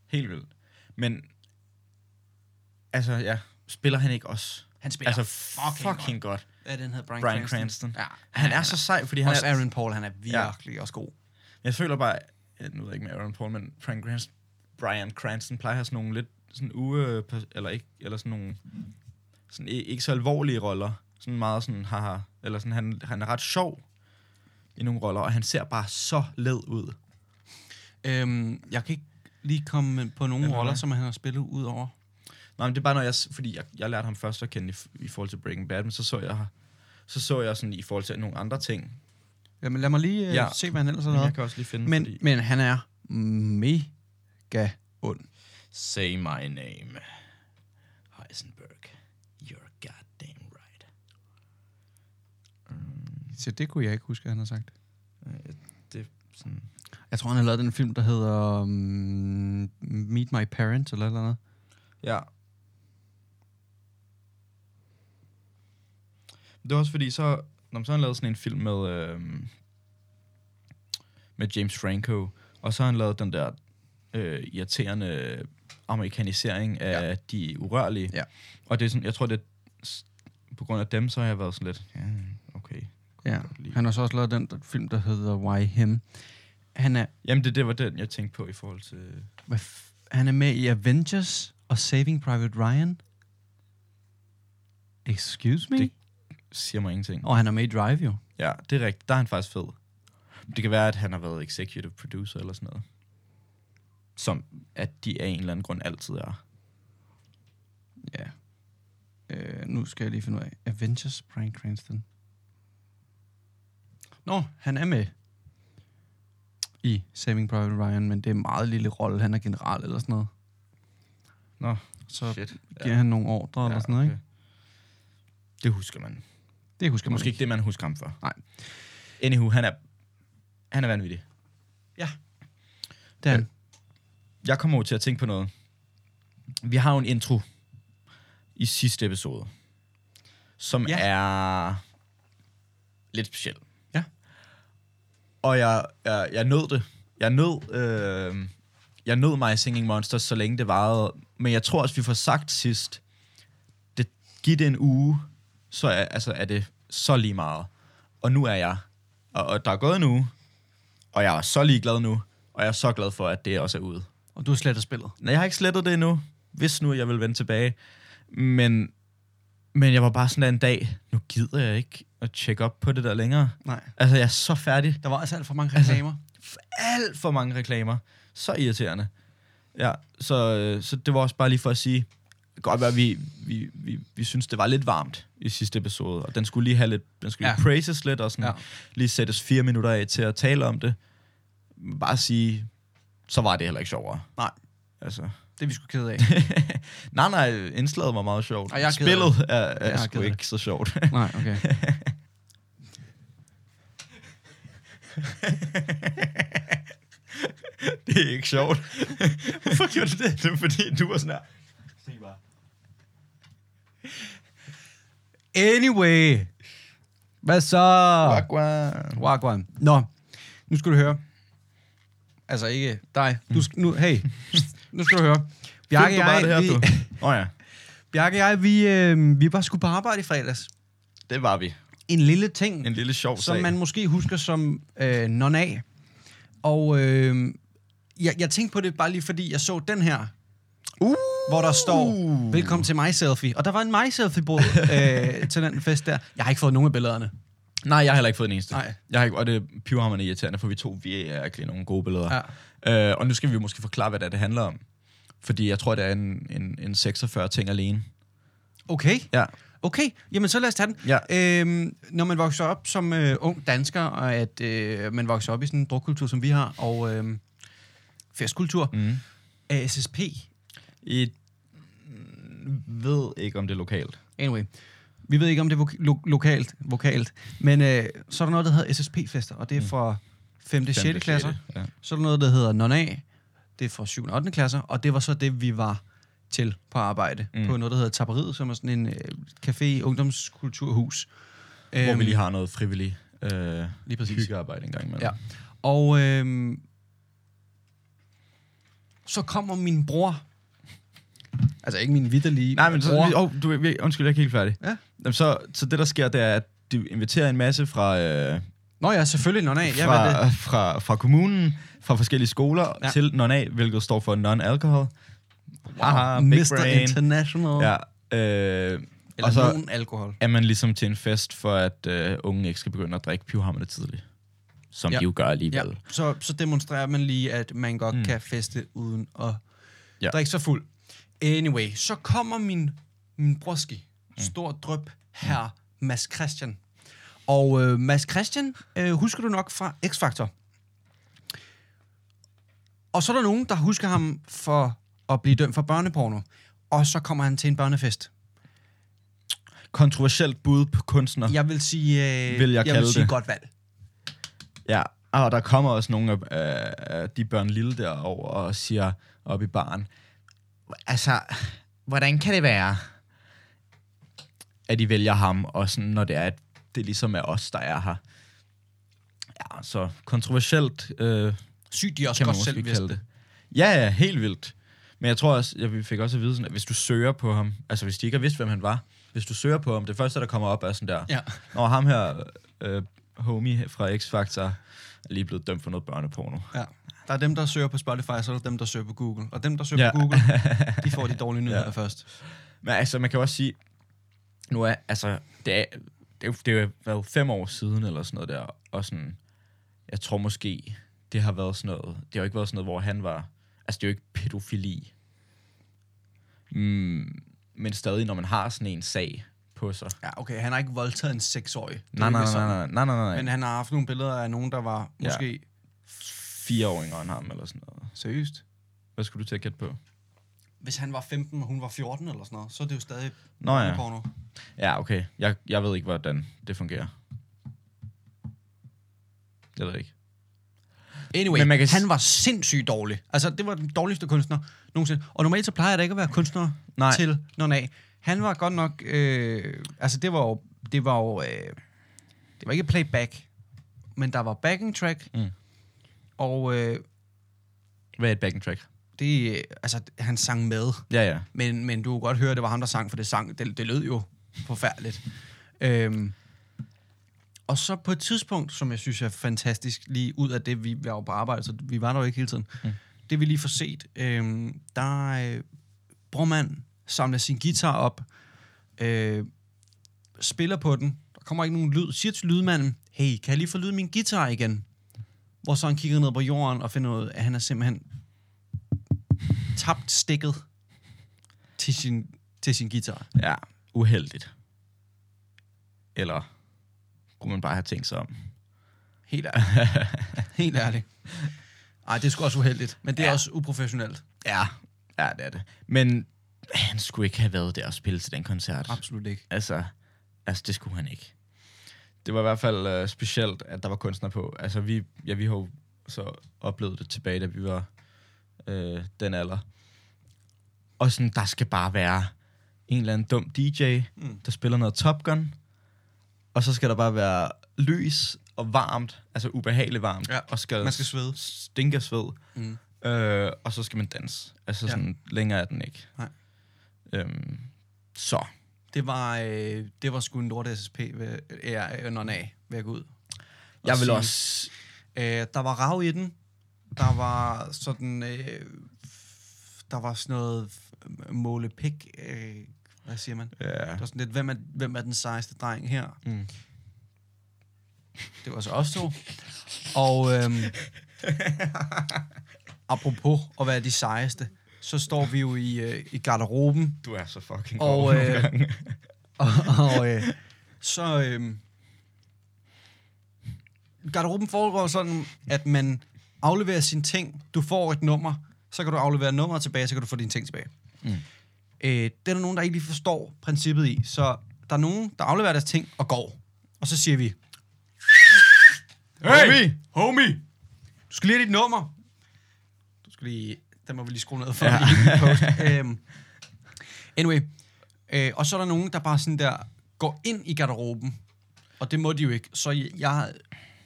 Speaker 2: Helt vildt. Men, altså ja, spiller han ikke også?
Speaker 1: Han spiller
Speaker 2: Altså
Speaker 1: altså,
Speaker 2: fucking, fucking godt.
Speaker 1: Hvad er den hedder? Brian,
Speaker 2: Brian
Speaker 1: Cranston.
Speaker 2: Cranston.
Speaker 1: Ja,
Speaker 2: Han er så sej, fordi han
Speaker 1: også
Speaker 2: er...
Speaker 1: Aaron Paul, han er virkelig ja. også god.
Speaker 2: Jeg føler bare, ja, nu ved jeg ikke med Aaron Paul, men Brian Cranston, Brian Cranston plejer at have sådan nogle lidt sådan uge, eller ikke, eller sådan nogle sådan, i- ikke så alvorlige roller. Sådan meget sådan, haha, eller sådan, han, han er ret sjov i nogle roller, og han ser bare så led ud.
Speaker 1: Øhm, jeg kan ikke lige komme med- på nogle
Speaker 2: Eller
Speaker 1: roller,
Speaker 2: hvad?
Speaker 1: som han har spillet ud over.
Speaker 2: Nej, men det er bare, når jeg, s- fordi jeg, jeg lærte ham først at kende i, f- i forhold til Breaking Bad, men så så jeg, så så jeg sådan i forhold til nogle andre ting.
Speaker 1: Jamen, lad mig lige øh,
Speaker 2: Ja.
Speaker 1: ja. se, hvad han ellers har
Speaker 2: Men jeg
Speaker 1: lavet.
Speaker 2: kan også lige finde,
Speaker 1: Men,
Speaker 2: fordi...
Speaker 1: men han er mega ond.
Speaker 2: Say my name, Heisenberg. You're goddamn right.
Speaker 1: Så det kunne jeg ikke huske, at han har sagt.
Speaker 2: Øh, Det er sådan...
Speaker 1: Jeg tror, han har lavet den film, der hedder um, Meet My Parents, eller et eller andet.
Speaker 2: Ja. Det var også fordi, så Nå, men så har han lavet sådan en film med, øh, med James Franco, og så har han lavet den der øh, irriterende amerikanisering af ja. de urørlige.
Speaker 1: Ja.
Speaker 2: Og det er sådan, jeg tror, det er, s- på grund af dem, så har jeg været sådan lidt, ja, okay. kunne
Speaker 1: Ja,
Speaker 2: jeg godt lide."
Speaker 1: han har så også lavet den der film, der hedder Why Him. Han er,
Speaker 2: Jamen, det, det var den, jeg tænkte på i forhold til...
Speaker 1: hvad f- han er med i Avengers og Saving Private Ryan. Excuse me?
Speaker 2: Det- Siger mig ingenting.
Speaker 1: Og han er med i Drive, jo.
Speaker 2: Ja, det er rigtigt. Der er han faktisk fed. Det kan være, at han har været executive producer eller sådan noget. Som at de af en eller anden grund altid er.
Speaker 1: Ja. Øh, nu skal jeg lige finde ud af. Avengers, Brian Cranston. Nå, han er med i Saving Private Ryan, men det er en meget lille rolle. Han er general eller sådan noget.
Speaker 2: Nå,
Speaker 1: så
Speaker 2: Shit.
Speaker 1: giver ja. han nogle ordre ja, eller sådan noget, ikke?
Speaker 2: Det husker man. Det
Speaker 1: Det husker
Speaker 2: er
Speaker 1: man
Speaker 2: måske ikke det, man husker ham for.
Speaker 1: Nej.
Speaker 2: Anywho, han er, han er vanvittig.
Speaker 1: Det er han.
Speaker 2: Jeg kommer jo til at tænke på noget. Vi har jo en intro i sidste episode, som
Speaker 1: Ja.
Speaker 2: ja. er lidt speciel.
Speaker 1: Ja.
Speaker 2: Og jeg, jeg, jeg nød det. Jeg nød, øh, jeg nød mig Singing Monsters, så længe det varede. Men jeg tror også, vi får sagt sidst, det, giv det en uge, så er, altså, er det så lige meget. Og nu er jeg, og, og der er gået en uge, og jeg er så ligeglad nu, og jeg er så glad for, at det også er ude.
Speaker 1: Og du har slettet spillet.
Speaker 2: Nej, jeg har ikke slettet det endnu, hvis nu jeg vil vende tilbage. Men, men jeg var bare sådan der en dag, nu gider jeg ikke at tjekke op på det der længere.
Speaker 1: Nej.
Speaker 2: Altså, jeg er så færdig.
Speaker 1: Der var altså alt for mange reklamer. Altså,
Speaker 2: Alt for mange reklamer. Så irriterende. Ja, så, øh, så det var også bare lige for at sige, det kan godt være, vi, vi, vi, vi synes, det var lidt varmt i sidste episode, og den skulle lige have lidt, den skulle
Speaker 1: Ja.
Speaker 2: ja. lige praises lidt, og sådan
Speaker 1: Ja.
Speaker 2: ja. lige sættes fire minutter af til at tale om det. Bare sige, så var det heller ikke sjovere.
Speaker 1: Nej.
Speaker 2: Altså.
Speaker 1: det er vi sgu kede af.
Speaker 2: nej, nej, indslaget var meget sjovt.
Speaker 1: Ej, jeg er ked af
Speaker 2: Spillet er, er,
Speaker 1: Jeg er
Speaker 2: er sgu
Speaker 1: ked af
Speaker 2: ikke så sjovt.
Speaker 1: Nej, okay.
Speaker 2: det er ikke sjovt. Hvorfor gjorde du det? Det er fordi, du var sådan her. Se bare.
Speaker 1: Anyway. Hvad så?
Speaker 2: Ah. Wagwan.
Speaker 1: Wagwan. Nå, nu skal du høre. Altså ikke dig. Du skal, nu, hey, nu skal du høre. Bjarke
Speaker 2: Find
Speaker 1: og
Speaker 2: du bare det her,
Speaker 1: jeg,
Speaker 2: du.
Speaker 1: vi,
Speaker 2: Åh oh, ja,
Speaker 1: Bjarke og jeg vi, øh, vi var sgu på arbejde i fredags.
Speaker 2: det var vi.
Speaker 1: En lille ting,
Speaker 2: En lille sjov
Speaker 1: som
Speaker 2: sag.
Speaker 1: man måske husker som øh, non af. Og øh, jeg, jeg tænkte på det bare lige, fordi jeg så den her,
Speaker 2: uh!
Speaker 1: hvor der står, velkommen til mig selfie. Og der var en mig selfie bord øh, til den fest der. Jeg har ikke fået nogen af billederne.
Speaker 2: Nej, jeg har heller ikke fået den eneste.
Speaker 1: Nej.
Speaker 2: Jeg har ikke, og det er pivhammerne irriterende, for vi to, vi er virkelig nogle gode billeder. Ja. Øh, og nu skal vi måske forklare, hvad det, er, det handler om. Fordi jeg tror, det er en, en, en 46 ting alene.
Speaker 1: Okay.
Speaker 2: Ja.
Speaker 1: Okay, jamen så lad os tage den.
Speaker 2: Ja.
Speaker 1: Øhm, når man vokser op som øh, ung dansker, og at øh, man vokser op i sådan en drukkultur, som vi har, og øh, festkultur,
Speaker 2: Mm.
Speaker 1: af SSP,
Speaker 2: I ved ikke, om det er lokalt.
Speaker 1: anyway, vi ved ikke, om det er vok- lo- lokalt, vokalt, men øh, så er der noget, der hedder SSP-fester, og det er
Speaker 2: Mm.
Speaker 1: fra 5. og 6. klasser.
Speaker 2: Ja.
Speaker 1: Så er der noget, der hedder non-A, det er fra 7. og 8. klasser, og det var så det, vi var til på arbejde, mm.
Speaker 2: Mm.
Speaker 1: på noget, der hedder Tapperiet, som er sådan en øh, café, ungdomskulturhus.
Speaker 2: Hvor
Speaker 1: Øhm,
Speaker 2: vi lige har noget frivillig øh,
Speaker 1: Lige præcis.
Speaker 2: hyggearbejde en gang imellem.
Speaker 1: Ja. Og øhm, så kommer min bror. Altså ikke min vidderlige
Speaker 2: Nej, men så,
Speaker 1: bror.
Speaker 2: vi, oh, du, vi, undskyld, jeg er ikke helt færdig.
Speaker 1: Ja.
Speaker 2: Jamen, Så, så det, der sker, det er, at de inviterer en masse fra, øh,
Speaker 1: Nå ja, selvfølgelig. Nå nej, jeg ved det.
Speaker 2: fra, fra, fra kommunen, fra forskellige skoler
Speaker 1: Ja.
Speaker 2: ja. til non-A, hvilket står for non-alcohol. Haha, big
Speaker 1: Mr.
Speaker 2: brain.
Speaker 1: International. Ja.
Speaker 2: Ja, øh,
Speaker 1: Eller
Speaker 2: og så
Speaker 1: nogen alkohol.
Speaker 2: er man ligesom til en fest for, at øh, unge ikke skal begynde at drikke pivhammerne tidligt. Som
Speaker 1: Ja.
Speaker 2: ja. de jo gør
Speaker 1: Ja,
Speaker 2: alligevel.
Speaker 1: så, så demonstrerer man lige, at man godt mm. kan feste uden at ja.
Speaker 2: Ja.
Speaker 1: drikke sig fuld. Anyway, så kommer min, min brorski,
Speaker 2: Mm.
Speaker 1: stor drøb her, Mads Christian. Og øh, Mads Christian øh, husker du nok fra X-Factor. Og så er der nogen, der husker ham for at blive dømt for børneporno. Og så kommer han til en børnefest.
Speaker 2: Kontroversielt bud på kunstner.
Speaker 1: Jeg vil sige, øh,
Speaker 2: Vil jeg
Speaker 1: jeg vil
Speaker 2: kalde
Speaker 1: sige
Speaker 2: det.
Speaker 1: godt valg.
Speaker 2: Ja, og der kommer også nogle af, af- af de børn lille derover og siger op i baren, altså, hvordan kan det være, at de vælger ham, og sådan, når det er, at det ligesom er os, der er her. Ja, så kontroversielt øh,
Speaker 1: Sygt de også
Speaker 2: kan man
Speaker 1: godt
Speaker 2: måske
Speaker 1: selv
Speaker 2: kalde
Speaker 1: vidste.
Speaker 2: det. Ja, ja, helt vildt. Men jeg tror også, jeg vi fik også at vide, sådan, at hvis du søger på ham, altså hvis de ikke har vidst, hvem han var, hvis du søger på ham, det første, der kommer op, er sådan der,
Speaker 1: Ja.
Speaker 2: når ham her, øh, homie fra X-Factor, er lige blevet dømt for noget børneporno.
Speaker 1: ja. Der er dem, der søger på Spotify, så er der dem, der søger på Google. Og dem, der søger ja.
Speaker 2: Ja.
Speaker 1: på Google, de får de dårlige nyheder ja. først.
Speaker 2: Men altså, man kan jo også sige, nu er, altså, det er, det er, jo- det er jo været fem år siden, eller sådan noget der, og sådan, jeg tror måske, det har været sådan noget, det har jo ikke været sådan noget, hvor han var, altså, det er jo ikke pædofili. Mm, men stadig, når man har sådan en sag på sig.
Speaker 1: Ja, okay, han har ikke voldtaget en seksårig. Det
Speaker 2: Nej,
Speaker 1: er ikke
Speaker 2: nej, nej,
Speaker 1: sådan.
Speaker 2: nej, nej, nej, nej,
Speaker 1: Men
Speaker 2: nej.
Speaker 1: han har haft nogle billeder af nogen, der var
Speaker 2: Ja.
Speaker 1: måske...
Speaker 2: Fire år yngre end ham, eller sådan noget.
Speaker 1: Seriøst?
Speaker 2: Hvad skulle du til at gætte på?
Speaker 1: Hvis han var 15, og hun var 14 eller sådan noget, så er det jo stadig
Speaker 2: Nå ja,
Speaker 1: porno.
Speaker 2: ja okay. Jeg, jeg ved ikke, hvordan det fungerer. Jeg ved ikke.
Speaker 1: Anyway,
Speaker 2: Men man kan s-
Speaker 1: han var sindssygt dårlig. Altså, det var den dårligste kunstner nogensinde. Og normalt så plejer jeg da ikke at være kunstner Nej.
Speaker 2: Nej.
Speaker 1: til nogen af. Han var godt nok... Øh, altså, det var jo... Det var jo... Øh, det var ikke playback, men der var backing track. Mm.
Speaker 2: Mm.
Speaker 1: Og øh,
Speaker 2: Hvad er et backing track?
Speaker 1: det... øh, Altså, han sang med.
Speaker 2: Ja, ja.
Speaker 1: Men, men du kunne godt høre, at det var ham, der sang, for det, sang, det, det lød jo forfærdeligt. Øhm, og så på et tidspunkt, som jeg synes er fantastisk, lige ud af det, vi var jo på arbejde, så vi var der jo ikke hele tiden, mm. det vi lige får set, øhm, der øh, Brormand samler sin guitar op, øh, spiller på den, der kommer ikke nogen lyd, siger til lydmanden, hey, kan jeg lige få lyd min guitar igen? Hvor så han kigger ned på jorden og finder ud af, at han er simpelthen tabt stikket til sin, til sin guitar.
Speaker 2: Ja, uheldigt. Eller kunne man bare have tænkt sig om.
Speaker 1: Helt ærligt. Helt ærligt. Ej, det er sgu også uheldigt, men det er ja.
Speaker 2: Ja.
Speaker 1: også uprofessionelt.
Speaker 2: Ja, ja det er det. Men han skulle ikke have været der og spille til den koncert.
Speaker 1: Absolut ikke.
Speaker 2: Altså, altså det skulle han ikke. Det var i hvert fald øh, specielt, at der var kunstner på. Altså, vi, ja, vi har jo så oplevet det tilbage, da vi var øh, den alder. Og sådan, der skal bare være en eller anden dum DJ,
Speaker 1: Mm.
Speaker 2: mm. der spiller noget Top Gun, og så skal der bare være lys og varmt, altså ubehageligt varmt,
Speaker 1: Ja,
Speaker 2: og skal
Speaker 1: man skal svede.
Speaker 2: stinke af sved,
Speaker 1: Mm.
Speaker 2: øh, og så skal man danse. Altså
Speaker 1: Ja.
Speaker 2: sådan, længere er den ikke.
Speaker 1: Nej.
Speaker 2: Øhm, så.
Speaker 1: Det var, øh, det var sgu en lort SSP, ved, ja, under af, ved at gå ud. og
Speaker 2: Jeg vil
Speaker 1: sige-
Speaker 2: også
Speaker 1: Øh, der var rav i den. Der var sådan... Øh, f- der var sådan noget f- måle pik. Øh, hvad siger man?
Speaker 2: Ja.
Speaker 1: Det var sådan lidt, hvem er, hvem er den sejeste dreng her?
Speaker 2: Mm.
Speaker 1: Det var så os to. Og øhm, apropos at være de sejeste, så står vi jo i, øh, i garderoben,
Speaker 2: Du er så fucking
Speaker 1: Og,
Speaker 2: god nogle
Speaker 1: øh,
Speaker 2: gange.
Speaker 1: og, og øh, så... Øhm, garderoben foregår sådan, at man afleverer sine ting, du får et nummer, så kan du aflevere nummeret tilbage, så kan du få dine ting tilbage.
Speaker 2: Mm.
Speaker 1: Øh, det er der nogen, der ikke lige forstår princippet i, så der er nogen, der afleverer deres ting og går. Og så siger vi,
Speaker 2: Hey!
Speaker 1: Homie! Du skal lige have dit nummer. Du skal lige... Den må vi lige skrue ned for. Ja.
Speaker 2: Ja.
Speaker 1: Post. Øhm, anyway. Øh, og så er der nogen, der bare sådan der går ind i garderoben. Og det må de jo ikke. Så jeg, jeg,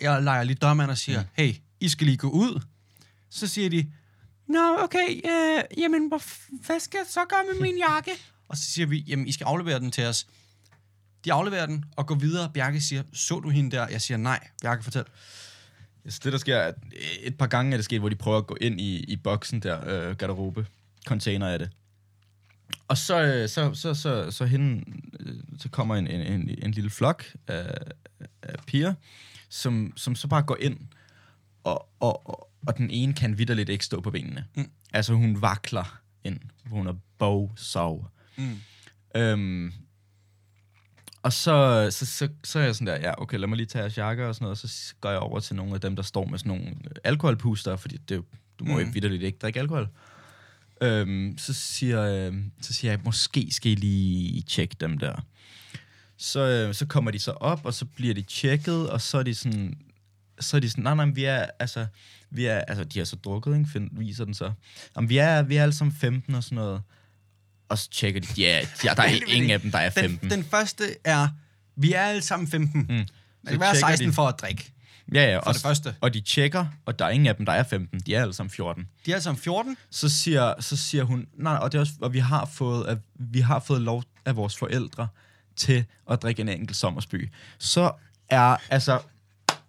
Speaker 1: jeg leger lige dørmand og siger, mm. hey, I skal lige gå ud. Så siger de, nå, okay, øh, jamen, hvor f- hvad skal jeg så gøre med min jakke? og så siger vi, jamen, I skal aflevere den til os. De afleverer den og går videre. Bjarke siger, så du hende der? Jeg siger, nej. Bjarke, fortæl.
Speaker 2: Altså, det, der sker, er, at et par gange er det sket, hvor de prøver at gå ind i, i boksen der, øh, garderobe, container af det. Og så, øh, så, så, så, så, hende, øh, så kommer en, en, en, en lille flok af, af piger, som, som så bare går ind, og, og, og, og den ene kan vidderligt ikke stå på benene.
Speaker 1: Mm.
Speaker 2: Altså, hun vakler ind, hun er bogsov.
Speaker 1: Mm.
Speaker 2: Øhm, og så, så, så, så er jeg sådan der, ja, okay, lad mig lige tage jeres jakker og sådan noget, og så s- går jeg over til nogle af dem, der står med sådan nogle øh, alkoholpuster, fordi det, er jo- du må
Speaker 1: Mhm.
Speaker 2: jo mm. vidderligt ikke drikke alkohol. Øhm, så, siger, øh, så siger jeg, måske skal I lige tjekke dem der. Så, øh, så kommer de så op, og så bliver de tjekket, og så er de sådan, så er de sådan, nej, nej, men vi er, altså, vi er, altså, de har så drukket, ikke, Find, viser den så. Jamen, vi er, vi er alle sammen 15 og sådan noget. Og så tjekker de, ja, ja der er
Speaker 1: Helt vildt.
Speaker 2: ingen af dem, der er
Speaker 1: Den,
Speaker 2: 15.
Speaker 1: den første er, Vi er alle sammen 15. Mm. Man kan være
Speaker 2: tjekker
Speaker 1: 16
Speaker 2: de-
Speaker 1: for at drikke,
Speaker 2: Ja, ja,
Speaker 1: for
Speaker 2: og,
Speaker 1: og det første.
Speaker 2: og de tjekker, og der er ingen af dem, der er 15. De er alle sammen 14.
Speaker 1: De er som 14.
Speaker 2: Så siger, så siger hun, nej, og, det er også, og vi, har fået, at vi har fået lov af vores forældre til at drikke en enkelt sommersby. Så er, altså,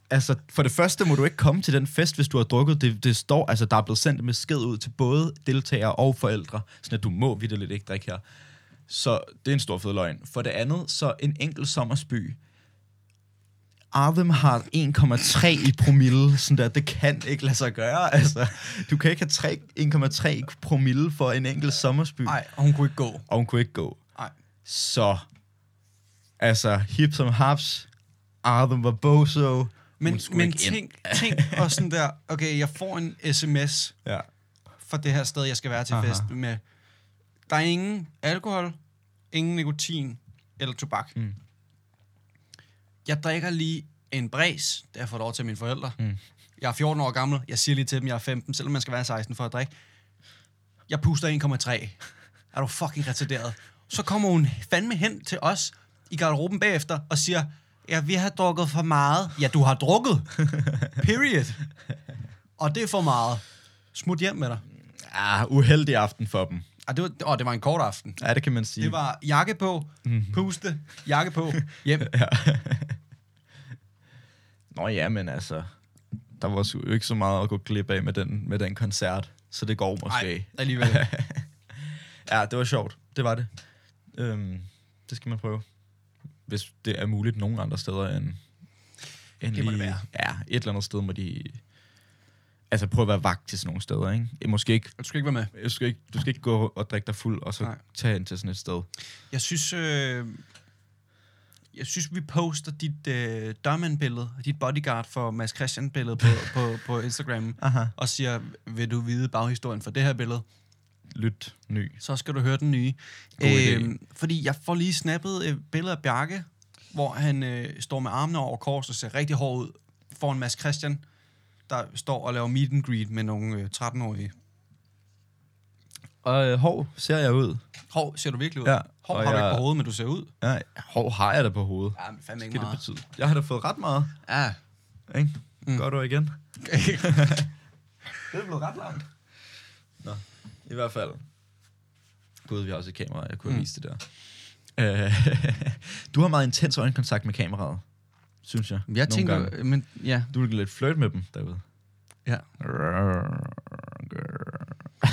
Speaker 2: altså, for det første må du ikke komme til den fest, hvis du har drukket. Det, det står, altså, der er blevet sendt en besked ud til både deltagere og forældre, sådan at du må vidderligt ikke drikke her. Så det er en stor fed løgn. For det andet, så en enkelt sommersby. Arvem har 1,3 i promille, sådan der, det kan ikke lade sig gøre, altså. Du kan ikke have tre- 1,3 promille for en enkelt sommersby.
Speaker 1: Nej, og hun kunne ikke gå.
Speaker 2: Og hun kunne ikke gå.
Speaker 1: Nej.
Speaker 2: Så, altså, hip som haps, Arvem var bozo,
Speaker 1: Men,
Speaker 2: hun skulle
Speaker 1: men
Speaker 2: ikke ind.
Speaker 1: tænk, tænk og sådan der, okay, jeg får en sms
Speaker 2: Ja.
Speaker 1: fra det her sted, jeg skal være til
Speaker 2: Aha.
Speaker 1: fest med. Der er ingen alkohol, ingen nikotin eller tobak.
Speaker 2: Mm.
Speaker 1: Mm. Jeg drikker lige en bræs, det har jeg fået lov til af mine forældre.
Speaker 2: Mm.
Speaker 1: Mm. Jeg er 14 år gammel, jeg siger lige til dem, jeg er 15, selvom man skal være 16 for at drikke. Jeg puster 1,3. Er du fucking retarderet? Så kommer hun fandme hen til os i garderoben bagefter og siger, ja, vi har drukket for meget. Ja, du har drukket. Period. Og det er for meget. Smut hjem med dig.
Speaker 2: Ah, uheldig aften for dem.
Speaker 1: Og det var, åh, det var en kort aften.
Speaker 2: Ja, det kan man sige.
Speaker 1: Det var jakke på, puste, jakke på, hjem.
Speaker 2: Nå ja, men altså, der var sgu ikke så meget at gå glip af med den, med den koncert, så det går måske.
Speaker 1: Nej, alligevel.
Speaker 2: Ja, det var sjovt. Det var det. Øhm, det skal man prøve. Hvis det er muligt nogen andre steder end... end
Speaker 1: Det må det være.
Speaker 2: Ja, et eller andet sted må de... Altså prøve at være vagt til sådan nogle steder, ikke? Eh, Måske ikke...
Speaker 1: Du skal ikke være med.
Speaker 2: Du skal ikke, du skal ikke gå og drikke dig fuld, og så Nej.
Speaker 1: Nej.
Speaker 2: tage ind til sådan et sted.
Speaker 1: Jeg synes, øh, jeg synes vi poster dit øh, dørmand-billede, dit bodyguard for Mads Christian-billede på, på, på Instagram,
Speaker 2: Aha.
Speaker 1: og siger, vil du vide baghistorien for det her billede,
Speaker 2: Lyt ny.
Speaker 1: så skal du høre den nye. Øhm,
Speaker 2: God idé.
Speaker 1: fordi jeg får lige snappet et billede af Bjarke, hvor han øh, står med armene over kors og ser rigtig hård ud foran Mads Christian, der står og laver meet and greet med nogle øh, 13-årige.
Speaker 2: Og øh, hov, ser jeg ud.
Speaker 1: Hov, ser du virkelig ud?
Speaker 2: Ja,
Speaker 1: Hov
Speaker 2: og
Speaker 1: har du
Speaker 2: jeg-
Speaker 1: ikke på hovedet, men du ser ud.
Speaker 2: Nej, hov har jeg da på hovedet.
Speaker 1: Ja, men fandme
Speaker 2: Skal det betyde? Jeg har da fået ret meget,
Speaker 1: Ja.
Speaker 2: ikke? Mm. Godt år igen. Det er blevet ret langt. Nå, i hvert fald. Gud, vi har også et kamera, jeg kunne mm. vise det der. Øh, du har meget intens øjenkontakt med kameraet, synes jeg.
Speaker 1: jeg tænker,
Speaker 2: Gange.
Speaker 1: men ja.
Speaker 2: Du vil lidt flirt med dem derude.
Speaker 1: ja.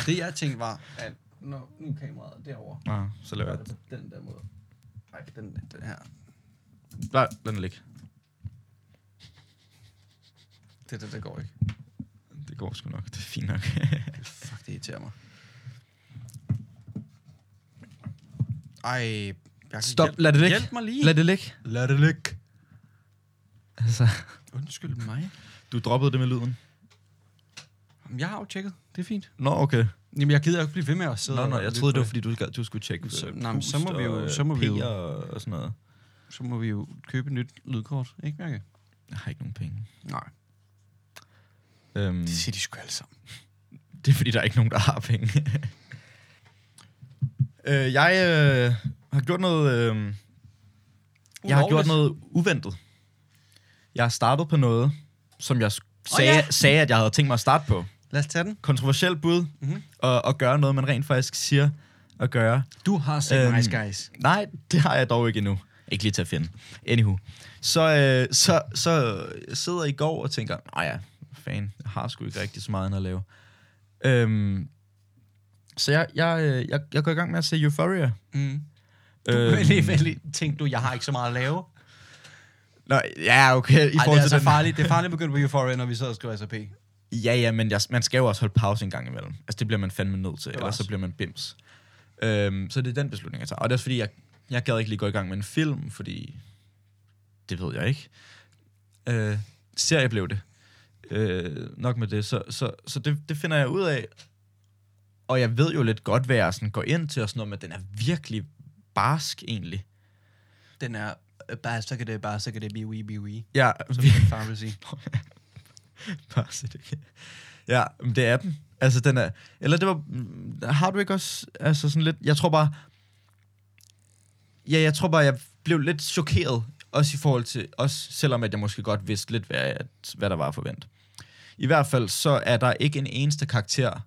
Speaker 1: Det jeg tænkte var, at når nu er kameraet derovre,
Speaker 2: Nå, så laver jeg
Speaker 1: er det på den der måde. Nej, den, den her.
Speaker 2: Nej, lad den ligge.
Speaker 1: Det, det, det går ikke.
Speaker 2: Det går sgu nok, det er fint nok.
Speaker 1: Fuck, det irriterer mig. Ej, Bjarke,
Speaker 2: Stop,
Speaker 1: hjælp-
Speaker 2: lad det ligge.
Speaker 1: Hjælp mig lige.
Speaker 2: Lad det ligge.
Speaker 1: lad det ligge.
Speaker 2: Altså,
Speaker 1: Undskyld mig.
Speaker 2: du droppede det med lyden.
Speaker 1: Jamen, Jeg har jo tjekket. Det er fint.
Speaker 2: Nå, okay.
Speaker 1: Jamen, jeg gider jo ikke blive ved med at sidde
Speaker 2: Nå,
Speaker 1: og
Speaker 2: nå, jeg
Speaker 1: lytte
Speaker 2: troede,
Speaker 1: på
Speaker 2: det var, fordi du, skal- du skulle tjekke
Speaker 1: Så-
Speaker 2: øh,
Speaker 1: nej, men så
Speaker 2: pust
Speaker 1: må vi jo-
Speaker 2: og, øh,
Speaker 1: så må vi jo-
Speaker 2: P og og sådan noget.
Speaker 1: Så må vi jo købe et nyt lydkort, ikke Bjarke?
Speaker 2: Jeg har ikke nogen penge.
Speaker 1: Nej.
Speaker 2: Øhm,
Speaker 1: siger de sgu alle sammen.
Speaker 2: Det er fordi, der er ikke nogen, der har penge. øh, jeg øh, har gjort noget... Øh, jeg har gjort noget uventet. Jeg har startet på noget, som jeg s- sagde, oh,
Speaker 1: ja.
Speaker 2: ja. sagde, at jeg havde tænkt mig at starte på.
Speaker 1: Lad os tage den.
Speaker 2: Kontroversielt bud,
Speaker 1: Mhm.
Speaker 2: mm-hmm. og, og gøre noget, man rent faktisk siger at gøre.
Speaker 1: Du har set
Speaker 2: Øhm,
Speaker 1: Nice Guys.
Speaker 2: Nej, det har jeg dog ikke endnu. Ikke lige til at finde. Anywho. Så, øh, så, så sidder jeg i går og tænker, nej ja, fan, jeg har sgu ikke rigtig så meget andet at lave. Øhm, så jeg, jeg, øh, jeg, jeg går i gang med at se Euphoria.
Speaker 1: Mm. Du
Speaker 2: Øhm,
Speaker 1: øh, vel, tænkte du, jeg har ikke så meget at lave. Ej,
Speaker 2: Nå, ja, okay. I Ej,
Speaker 1: det er
Speaker 2: forhold til
Speaker 1: altså
Speaker 2: den.
Speaker 1: farligt. Det er farligt at begynde på Euphoria, når vi sidder og skriver SAP.
Speaker 2: Ja, ja, men jeg, man skal jo også holde pause en gang imellem. Altså, det bliver man fandme nødt til, ellers
Speaker 1: også.
Speaker 2: så bliver man bims. Øhm, så det er den beslutning, jeg tager. Og det er også fordi, jeg, jeg gad ikke lige gå i gang med en film, fordi det ved jeg ikke. Øh, serie blev det. Øh, nok med det. Så, så, så det, det finder jeg ud af. Og jeg ved jo lidt godt, hvad jeg sådan går ind til og sådan noget, men den er virkelig barsk egentlig.
Speaker 1: Den er, øh, bare så kan det, bare så kan det, biwi, biwi.
Speaker 2: Ja,
Speaker 1: Som
Speaker 2: vi-
Speaker 1: min far vil sige.
Speaker 2: Bare så det. Ja, men det er den. Altså, den er... Eller det var... mm, Har du ikke også... Altså, sådan lidt... Jeg tror bare... Ja, jeg tror bare, jeg blev lidt chokeret Også i forhold til, også selvom at jeg måske godt vidste lidt, hvad, at, hvad der var at forvente. I hvert fald så er der ikke en eneste karakter,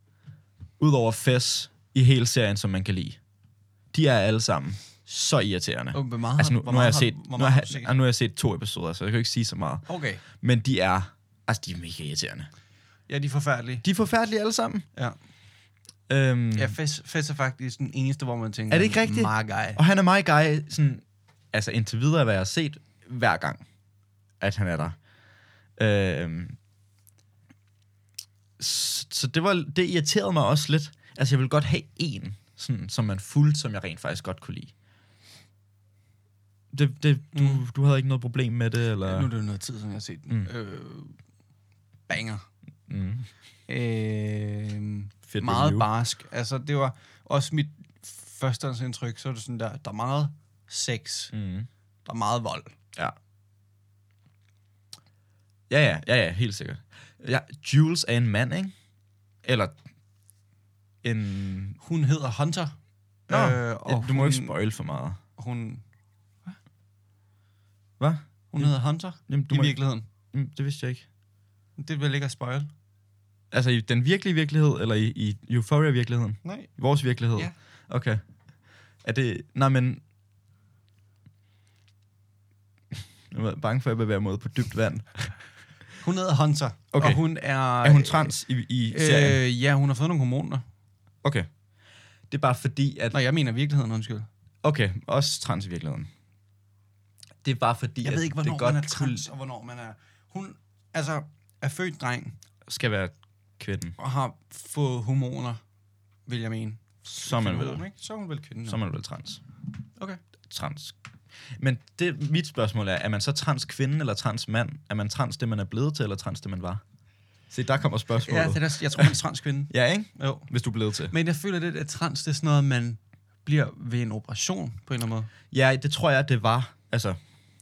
Speaker 2: udover Fess, i hele serien, som man kan lide. De er alle sammen så irriterende.
Speaker 1: Og Hvor meget,
Speaker 2: Altså nu,
Speaker 1: hvor
Speaker 2: nu har
Speaker 1: meget
Speaker 2: jeg set,
Speaker 1: hvor
Speaker 2: nu
Speaker 1: meget
Speaker 2: har,
Speaker 1: har du set?
Speaker 2: jeg- nu har jeg set to episoder, så jeg kan jo ikke sige så meget.
Speaker 1: Okay.
Speaker 2: Men de er, altså de er mega irriterende.
Speaker 1: Ja, de er forfærdelige.
Speaker 2: De er forfærdelige alle sammen.
Speaker 1: Ja.
Speaker 2: Øhm,
Speaker 1: Ja, Fess, Fess er faktisk den eneste, hvor man tænker...
Speaker 2: Er det ikke rigtigt?
Speaker 1: Meget gej.
Speaker 2: Og han er mig guy, sådan, altså indtil videre, hvad jeg har set, hver gang, at han er der. Øhm, s- så det, var, det irriterede mig også lidt. Altså, jeg ville godt have en, sådan, som man fulgte, som jeg rent faktisk godt kunne lide. Det, det, du, mm. du havde ikke noget problem med det, eller?
Speaker 1: Nu er det jo noget tid, siden jeg har set den. Mm. Øh, banger.
Speaker 2: Mm.
Speaker 1: Øh,
Speaker 2: Fedt
Speaker 1: meget
Speaker 2: review.
Speaker 1: barsk. Altså, det var også mit førstehåndsindtryk, så er det sådan der, der er meget sex,
Speaker 2: Mm.
Speaker 1: der er meget vold.
Speaker 2: Ja. Ja, ja, ja, ja, helt sikkert. Ja, Jules er en mand, ikke? Eller en...
Speaker 1: Hun hedder Hunter.
Speaker 2: Nå, øh,
Speaker 1: og
Speaker 2: du må
Speaker 1: hun,
Speaker 2: ikke spoil for meget.
Speaker 1: Hun,
Speaker 2: Hvad?
Speaker 1: hun hedder Hunter
Speaker 2: Jamen, du
Speaker 1: du i
Speaker 2: må ikke...
Speaker 1: virkeligheden.
Speaker 2: Jamen, det vidste jeg ikke.
Speaker 1: Det vil ikke at spoil.
Speaker 2: Altså i den virkelige virkelighed, eller i, i Euphoria-virkeligheden?
Speaker 1: Nej.
Speaker 2: I vores virkelighed?
Speaker 1: Ja.
Speaker 2: Okay. Er det... Nej, men... Jeg var bange for, at jeg bevæger mig ud på dybt vand.
Speaker 1: Hun hedder Hunter,
Speaker 2: Okay.
Speaker 1: og hun er...
Speaker 2: Er hun trans i, i serien?
Speaker 1: Øh, ja, hun har fået nogle hormoner.
Speaker 2: Okay. Det er bare fordi, at...
Speaker 1: Nå, jeg mener virkeligheden, undskyld.
Speaker 2: Okay, også trans i virkeligheden. Det er bare fordi,
Speaker 1: Jeg
Speaker 2: at
Speaker 1: ved ikke, hvornår
Speaker 2: det godt
Speaker 1: man er trans, og hvornår man er... Hun altså, er født dreng
Speaker 2: kunne- skal være kvinden,
Speaker 1: og har fået hormoner, vil jeg mene.
Speaker 2: så man
Speaker 1: Hormoner,
Speaker 2: vil,
Speaker 1: Ikke? Så er hun vel kvinde. nu.
Speaker 2: så man vil trans.
Speaker 1: Okay.
Speaker 2: Trans. Men det, mit spørgsmål er, er man så trans kvinde eller trans mand? Er man trans det, man er blevet til, eller trans det, man var? Se, der kommer spørgsmålet.
Speaker 1: Ja, det er, der- jeg tror, man er transkvinde.
Speaker 2: ja ikke?
Speaker 1: Jo.
Speaker 2: Hvis du er blevet til.
Speaker 1: Men jeg føler lidt, at trans, det er sådan noget, man bliver ved en operation, på en eller anden måde.
Speaker 2: Ja, det tror jeg, det var. Altså,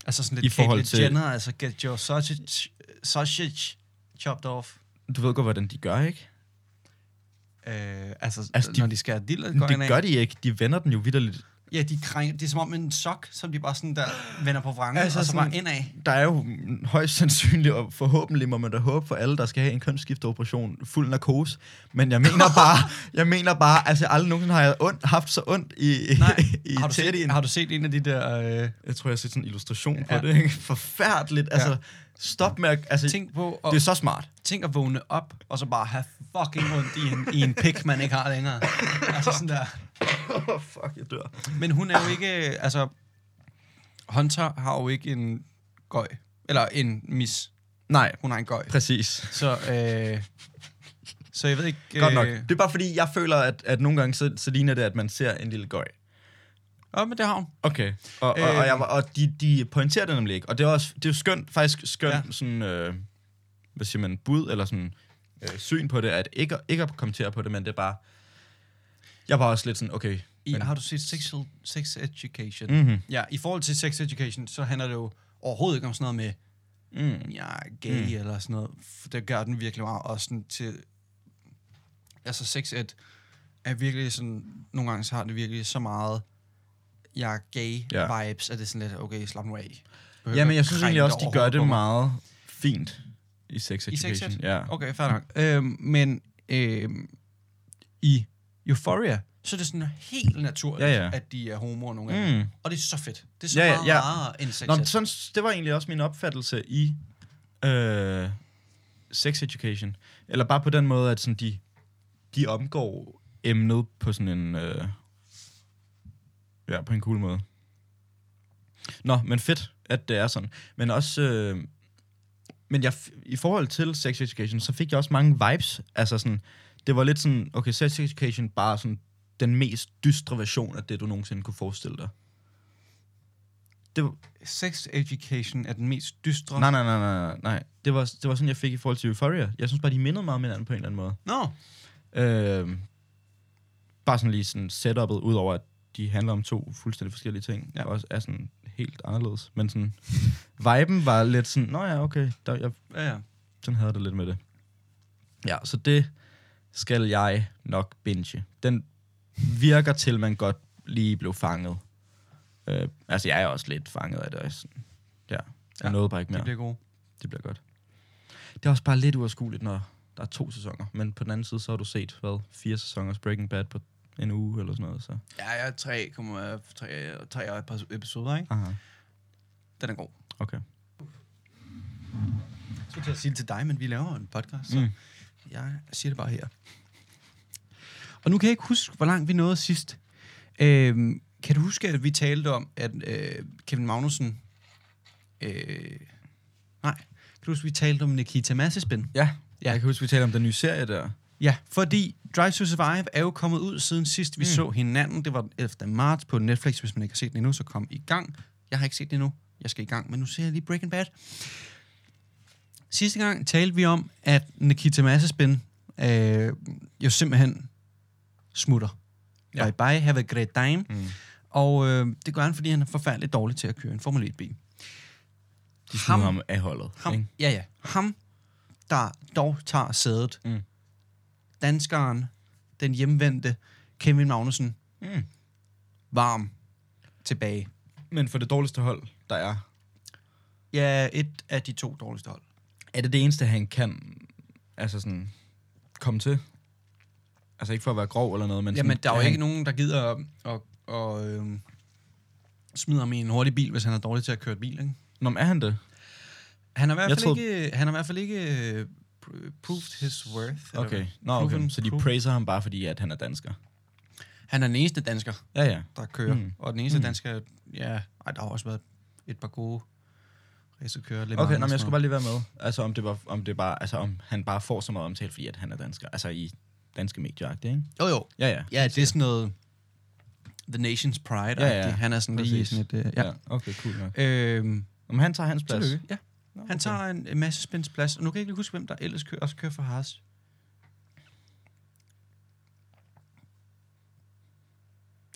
Speaker 1: Altså sådan lidt
Speaker 2: I forhold
Speaker 1: Caitlyn
Speaker 2: til-
Speaker 1: Jenner, altså get your sausage, sausage chopped off.
Speaker 2: du ved godt, hvordan de gør, ikke?
Speaker 1: Øh, altså,
Speaker 2: Altså,
Speaker 1: altså
Speaker 2: de-
Speaker 1: de, når de skærer diller,
Speaker 2: Men det gør de ikke. De vender den jo vidderligt.
Speaker 1: Ja, de krænger, det er som om en sok, som de bare sådan der vender på vrangen,
Speaker 2: Altså
Speaker 1: altså, og så
Speaker 2: sådan-
Speaker 1: bare indad.
Speaker 2: Der er jo mm, højst sandsynligt, og forhåbentlig må man da håbe for alle, der skal have en kønsskifteoperation, fuld narkose. Men jeg mener bare, jeg mener bare, altså aldrig nogensinde har jeg ondt, haft så ondt i,
Speaker 1: Nej,
Speaker 2: i
Speaker 1: har, du set,
Speaker 2: tætien.
Speaker 1: har du set en af de der øh,
Speaker 2: Jeg tror, jeg har set sådan en illustration
Speaker 1: Ja.
Speaker 2: på det. ikke? Forfærdeligt. Altså, stop med at... Altså,
Speaker 1: ting på at,
Speaker 2: det er så smart.
Speaker 1: ting at vågne op, og så bare have fucking ondt i en, i en pik, man ikke har længere. Altså sådan der.
Speaker 2: Oh, fuck, jeg dør.
Speaker 1: Men hun er jo ikke, altså, Hunter har jo ikke en gøj, eller en mis.
Speaker 2: Nej,
Speaker 1: Hun har en gøj.
Speaker 2: præcis.
Speaker 1: Så, øh, så jeg ved ikke... øh,
Speaker 2: Godt nok. Det er bare fordi, jeg føler, at, at nogle gange, så, så ligner det, at man ser en lille gøj.
Speaker 1: Åh, men det har hun.
Speaker 2: Okay. Og, og, og, jeg, var- og de, de pointerer det nemlig ikke. Og det er, også, det er jo skønt, faktisk skønt, ja.
Speaker 1: Ja.
Speaker 2: sådan, øh, hvad siger man, bud eller sådan øh, syn på det, at ikke, ikke at kommentere på det, men det er bare, jeg var også lidt sådan, okay.
Speaker 1: I,
Speaker 2: Men-
Speaker 1: har du set sexual, Sex Education?
Speaker 2: Mhm.
Speaker 1: Ja, i forhold til Sex Education, så handler det jo overhovedet ikke om sådan noget med,
Speaker 2: Mm.
Speaker 1: jeg er gay mm. eller sådan noget. For Det gør den virkelig meget også sådan til... Altså sex ed er virkelig sådan... Nogle gange så har det virkelig så meget jeg er gay
Speaker 2: Ja.
Speaker 1: ja. vibes, at det er sådan lidt, okay, slap nu af. Behøver
Speaker 2: Ja, men
Speaker 1: ikke
Speaker 2: jeg synes
Speaker 1: krænke
Speaker 2: egentlig også,
Speaker 1: dig
Speaker 2: de gør
Speaker 1: overhovedet på
Speaker 2: det
Speaker 1: mig.
Speaker 2: meget fint i sex
Speaker 1: I sex
Speaker 2: education.
Speaker 1: ed?
Speaker 2: ja.
Speaker 1: Okay, fair nok. Øhm, men øhm, i Euphoria, så er det sådan helt naturligt,
Speaker 2: Ja,
Speaker 1: ja,
Speaker 2: ja.
Speaker 1: ja. at de er homoer nogle gange.
Speaker 2: Mm.
Speaker 1: Og det er så fedt. Det er så
Speaker 2: Ja,
Speaker 1: ja,
Speaker 2: ja,
Speaker 1: meget
Speaker 2: ja.
Speaker 1: ja. rarere end sex
Speaker 2: Nå, men
Speaker 1: ed.
Speaker 2: sådan, det var egentlig også min opfattelse i øh, sex education. Eller bare på den måde, at sådan de, de omgår emnet på sådan en... Øh, ja, på en cool måde. Nå, men fedt, at det er sådan. Men også... Øh, men jeg, f- i forhold til sex education, så fik jeg også mange vibes. Altså sådan, det var lidt sådan, okay, sex education bare sådan den mest dystre version af det, du nogensinde kunne forestille dig. Det, var-
Speaker 1: Sex education er den mest dystre...
Speaker 2: Nej, nej, nej, nej, nej, nej. Det var, det var sådan, jeg fik i forhold til Euphoria. Jeg synes bare, de mindede meget om hinanden på en eller anden måde.
Speaker 1: Nå,
Speaker 2: Øh, bare sådan lige sådan setup'et, udover at de handler om to fuldstændig forskellige ting, ja.
Speaker 1: Ja.
Speaker 2: og også er sådan helt anderledes. Men sådan, viben var lidt sådan, nå ja, okay, der, jeg,
Speaker 1: ja, ja.
Speaker 2: sådan havde jeg det lidt med det. Ja, så det skal jeg nok binge. Den virker til, at man godt lige blev fanget. Øh, altså, jeg er også lidt fanget af det. og Sådan. Ja,
Speaker 1: Ja,
Speaker 2: jeg nåede bare ikke
Speaker 1: De
Speaker 2: mere.
Speaker 1: bliver gode.
Speaker 2: Det bliver godt. Det er også bare lidt uoverskueligt, når der er to sæsoner. Men på den anden side, så har du set, hvad, fire sæsoners Breaking Bad på en uge eller sådan noget. Så.
Speaker 1: Ja, jeg er 3, 3, 3 episoder, ikke?
Speaker 2: Aha.
Speaker 1: Den er god.
Speaker 2: Okay.
Speaker 1: Jeg skulle til at sige det til dig, men vi laver en podcast, så mm.
Speaker 2: Mm.
Speaker 1: jeg siger det bare her. Og nu kan jeg ikke huske, hvor langt vi nåede sidst. Øhm, kan du huske, at vi talte om, at øh, Kevin Magnussen... Øh, nej. Kan du huske, at vi talte om Nikita Massespin?
Speaker 2: Ja, ja, jeg kan huske, vi talte om den nye serie der.
Speaker 1: Ja, fordi Drive to Survive er jo kommet ud siden sidst, vi mm.
Speaker 2: Mm.
Speaker 1: så hinanden. Det var den 11. marts på Netflix. Hvis man ikke har set den endnu, så kom i gang. Jeg har ikke set den endnu. Jeg skal i gang, men nu ser jeg lige Breaking Bad. Sidste gang talte vi om, at Nikita Massespin øh, jo simpelthen smutter. Ja.
Speaker 2: Ja.
Speaker 1: Bye bye, have a great time.
Speaker 2: Mm.
Speaker 1: Og øh, det gør han, fordi han er forfærdeligt dårlig til at køre en Formel 1-bil.
Speaker 2: De smider ham af holdet.
Speaker 1: Ham,
Speaker 2: ikke?
Speaker 1: ja, ja. Ham, der dog tager sædet. Mm.
Speaker 2: Mm.
Speaker 1: Danskeren, den hjemvendte Kevin Magnussen,
Speaker 2: Mm.
Speaker 1: varm tilbage.
Speaker 2: Men for det dårligste hold, der er,
Speaker 1: Ja, et af de to dårligste hold.
Speaker 2: er det det eneste, han kan altså sådan, komme til? Altså ikke for at være grov eller noget, men... sådan,
Speaker 1: Jamen, der er jo
Speaker 2: han-
Speaker 1: ikke nogen, der gider at, at, at øh, smide ham i en hurtig bil, hvis han er dårlig til at køre et bil, ikke?
Speaker 2: Nå, men er han det?
Speaker 1: Han har i hvert
Speaker 2: Jeg
Speaker 1: fald
Speaker 2: troede-
Speaker 1: ikke, han har i hvert fald ikke øh, proved his worth. eller
Speaker 2: Okay.
Speaker 1: hvad?
Speaker 2: Nå, okay.
Speaker 1: Proven-
Speaker 2: Så de
Speaker 1: proven.
Speaker 2: praiser ham bare fordi, at han er dansker.
Speaker 1: Han er den eneste dansker,
Speaker 2: Ja, ja.
Speaker 1: der kører. Mm.
Speaker 2: Mm.
Speaker 1: Og den eneste mm.
Speaker 2: Mm.
Speaker 1: dansker, ja, ej, der har også været et par gode racerkører. Le Mans
Speaker 2: Okay, nå,
Speaker 1: og
Speaker 2: men jeg
Speaker 1: sådan
Speaker 2: skulle
Speaker 1: noget.
Speaker 2: bare lige være med. Altså om det var, om det bare, altså om han bare får så meget omtale, fordi at han er dansker. Altså i danske medier, ikke?
Speaker 1: Jo, jo.
Speaker 2: Ja, ja.
Speaker 1: Ja, det er sådan noget The Nation's Pride.
Speaker 2: Ja, ja.
Speaker 1: Han er sådan lige
Speaker 2: Præcis.
Speaker 1: sådan et... Øh, ja. ja.
Speaker 2: Okay, cool nok.
Speaker 1: Øhm,
Speaker 2: Om han tager hans plads.
Speaker 1: tillykke. Ja.
Speaker 2: Nå,
Speaker 1: Han tager en, en masse spænds plads, og nu kan jeg ikke lige huske, hvem der ellers kører, også kører for Haas.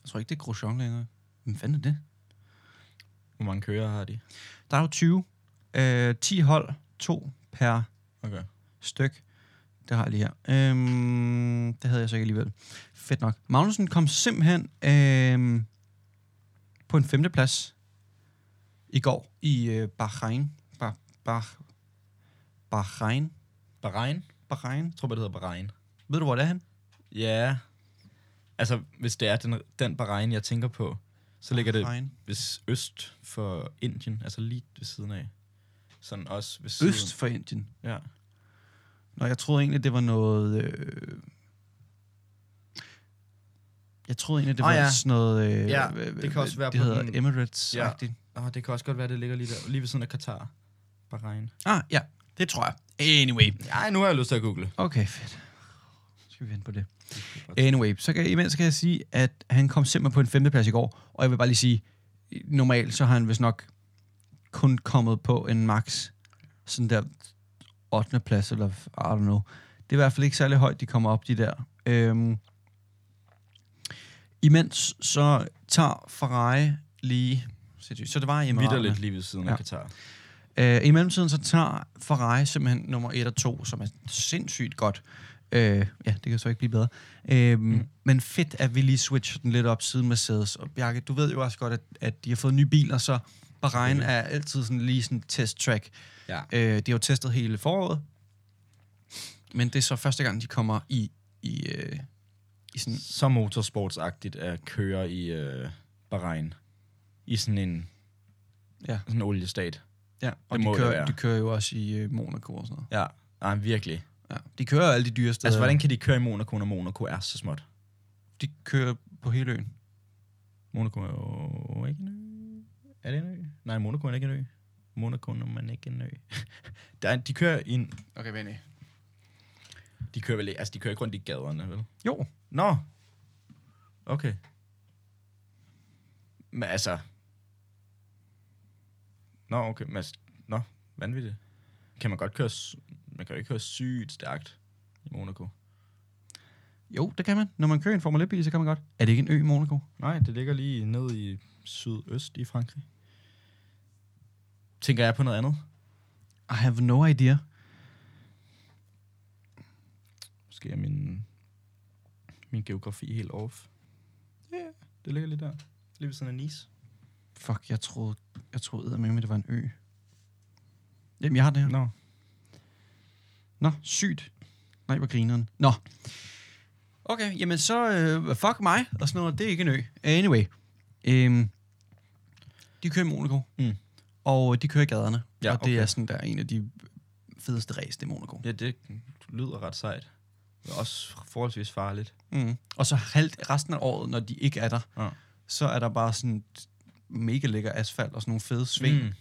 Speaker 1: Jeg tror ikke, det er Grosjean længere. Hvem fanden er det?
Speaker 2: Hvor mange kører har de?
Speaker 1: Der er jo 20. Øh, 10 hold, to per
Speaker 2: Okay.
Speaker 1: styk. Det har jeg lige her. Øhm, det havde jeg så ikke alligevel. Fedt nok. Magnussen kom simpelthen øhm, på en femteplads i går i øh, Bahrain. Bah, bah, Bahrain?
Speaker 2: Bahrain?
Speaker 1: Bahrain?
Speaker 2: Jeg tror bare, det hedder Bahrain.
Speaker 1: Ved du, hvor det er han?
Speaker 2: Ja. Altså, hvis det er den, den Bahrain, jeg tænker på, så ligger det
Speaker 1: Bahrain.
Speaker 2: hvis øst for Indien, altså lige ved siden af. Sådan også ved siden.
Speaker 1: Øst for Indien.
Speaker 2: Ja.
Speaker 1: Nå, jeg troede egentlig, det var noget... Øh, jeg troede egentlig, det
Speaker 2: Åh,
Speaker 1: var
Speaker 2: Ah, ja.
Speaker 1: sådan noget... Øh,
Speaker 2: Ja,
Speaker 1: øh,
Speaker 2: det kan også være
Speaker 1: det
Speaker 2: på
Speaker 1: hedder
Speaker 2: den-
Speaker 1: Emirates. Ja.
Speaker 2: Og det kan også godt være, det ligger lige der, lige ved siden af Katar. Bahrain.
Speaker 1: Ah, ja. Det tror jeg. Anyway.
Speaker 2: Nej, nu har jeg lyst til at google.
Speaker 1: Okay, fedt. Så skal vi vente på det. Anyway, så kan, imens kan jeg sige, at han kom simpelthen på en femteplads i går, og jeg vil bare lige sige, normalt så har han vist nok kun kommet på en max sådan der 8. plads, eller I don't know. Det er i hvert fald ikke særlig højt, de kommer op, de der. Øhm, imens så tager Ferrari lige... sindssygt, Så det var i Emiraterne.
Speaker 2: Vitterligt lige ved siden af
Speaker 1: Ja.
Speaker 2: Katar.
Speaker 1: Øh, I mellemtiden så tager Ferrari simpelthen nummer 1 og 2, som er sindssygt godt. Øh, ja, det kan så ikke blive bedre. Øh, mm. Men fedt, at vi lige switcher den lidt op siden Mercedes. Og Bjarke, du ved jo også godt, at, at de har fået nye biler, så Bahrain er altid sådan lige sådan test track.
Speaker 2: Ja.
Speaker 1: Øh, de har jo testet hele foråret, men det er så første gang, de kommer i, i, øh, i sådan...
Speaker 2: Så motorsportsagtigt at køre i øh, Bahrain. I sådan en,
Speaker 1: Ja.
Speaker 2: sådan en oliestat.
Speaker 1: Ja, og
Speaker 2: må
Speaker 1: de
Speaker 2: det
Speaker 1: kører,
Speaker 2: være.
Speaker 1: de kører jo også i øh, Monaco og sådan noget.
Speaker 2: Ja. Nej, virkelig.
Speaker 1: Ja. De kører jo alle de dyre steder.
Speaker 2: Altså, hvordan kan de køre i Monaco, når Monaco er så småt?
Speaker 1: De kører på hele øen.
Speaker 2: Monaco er jo ikke en ø. Er det en ø? Nej, Monaco er ikke en ø. Monaco er man ikke en ø. Der er, de kører i en,
Speaker 1: Okay, vent
Speaker 2: de kører vel ikke, altså de kører ikke rundt i gaderne, vel?
Speaker 1: Jo,
Speaker 2: Nå. Okay. Men altså... Nå, okay. Men altså, nå, vanvittigt. Kan man godt køre... s- Man kan jo ikke køre sygt stærkt i Monaco.
Speaker 1: Jo, det kan man. Når man kører en Formel 1-bil, så kan man godt. Er det ikke en ø i Monaco?
Speaker 2: Nej, det ligger lige ned i sydøst i Frankrig. Tænker jeg på noget andet?
Speaker 1: I have no idea.
Speaker 2: Måske er min, min geografi helt off. Ja, yeah, det ligger lige der. Lige ved siden af Nice.
Speaker 1: Fuck, jeg troede, jeg troede med, det var en ø. Jamen, jeg har det her.
Speaker 2: Nå.
Speaker 1: Nå, sygt. Nej, hvor grineren. Nå. Okay, jamen så øh, fuck mig og sådan noget. Det er ikke en ø. Anyway. Øhm, de kører i Monaco.
Speaker 2: Mm.
Speaker 1: Og de kører i gaderne.
Speaker 2: Ja,
Speaker 1: og det
Speaker 2: okay.
Speaker 1: er sådan der en af de fedeste ræs, det er Monaco.
Speaker 2: Ja, det lyder ret sejt. Men også forholdsvis farligt.
Speaker 1: Mm. Og så halvt resten af året, når de ikke er der,
Speaker 2: Ja.
Speaker 1: så er der bare sådan mega lækker asfalt og sådan nogle fede sving. Mm.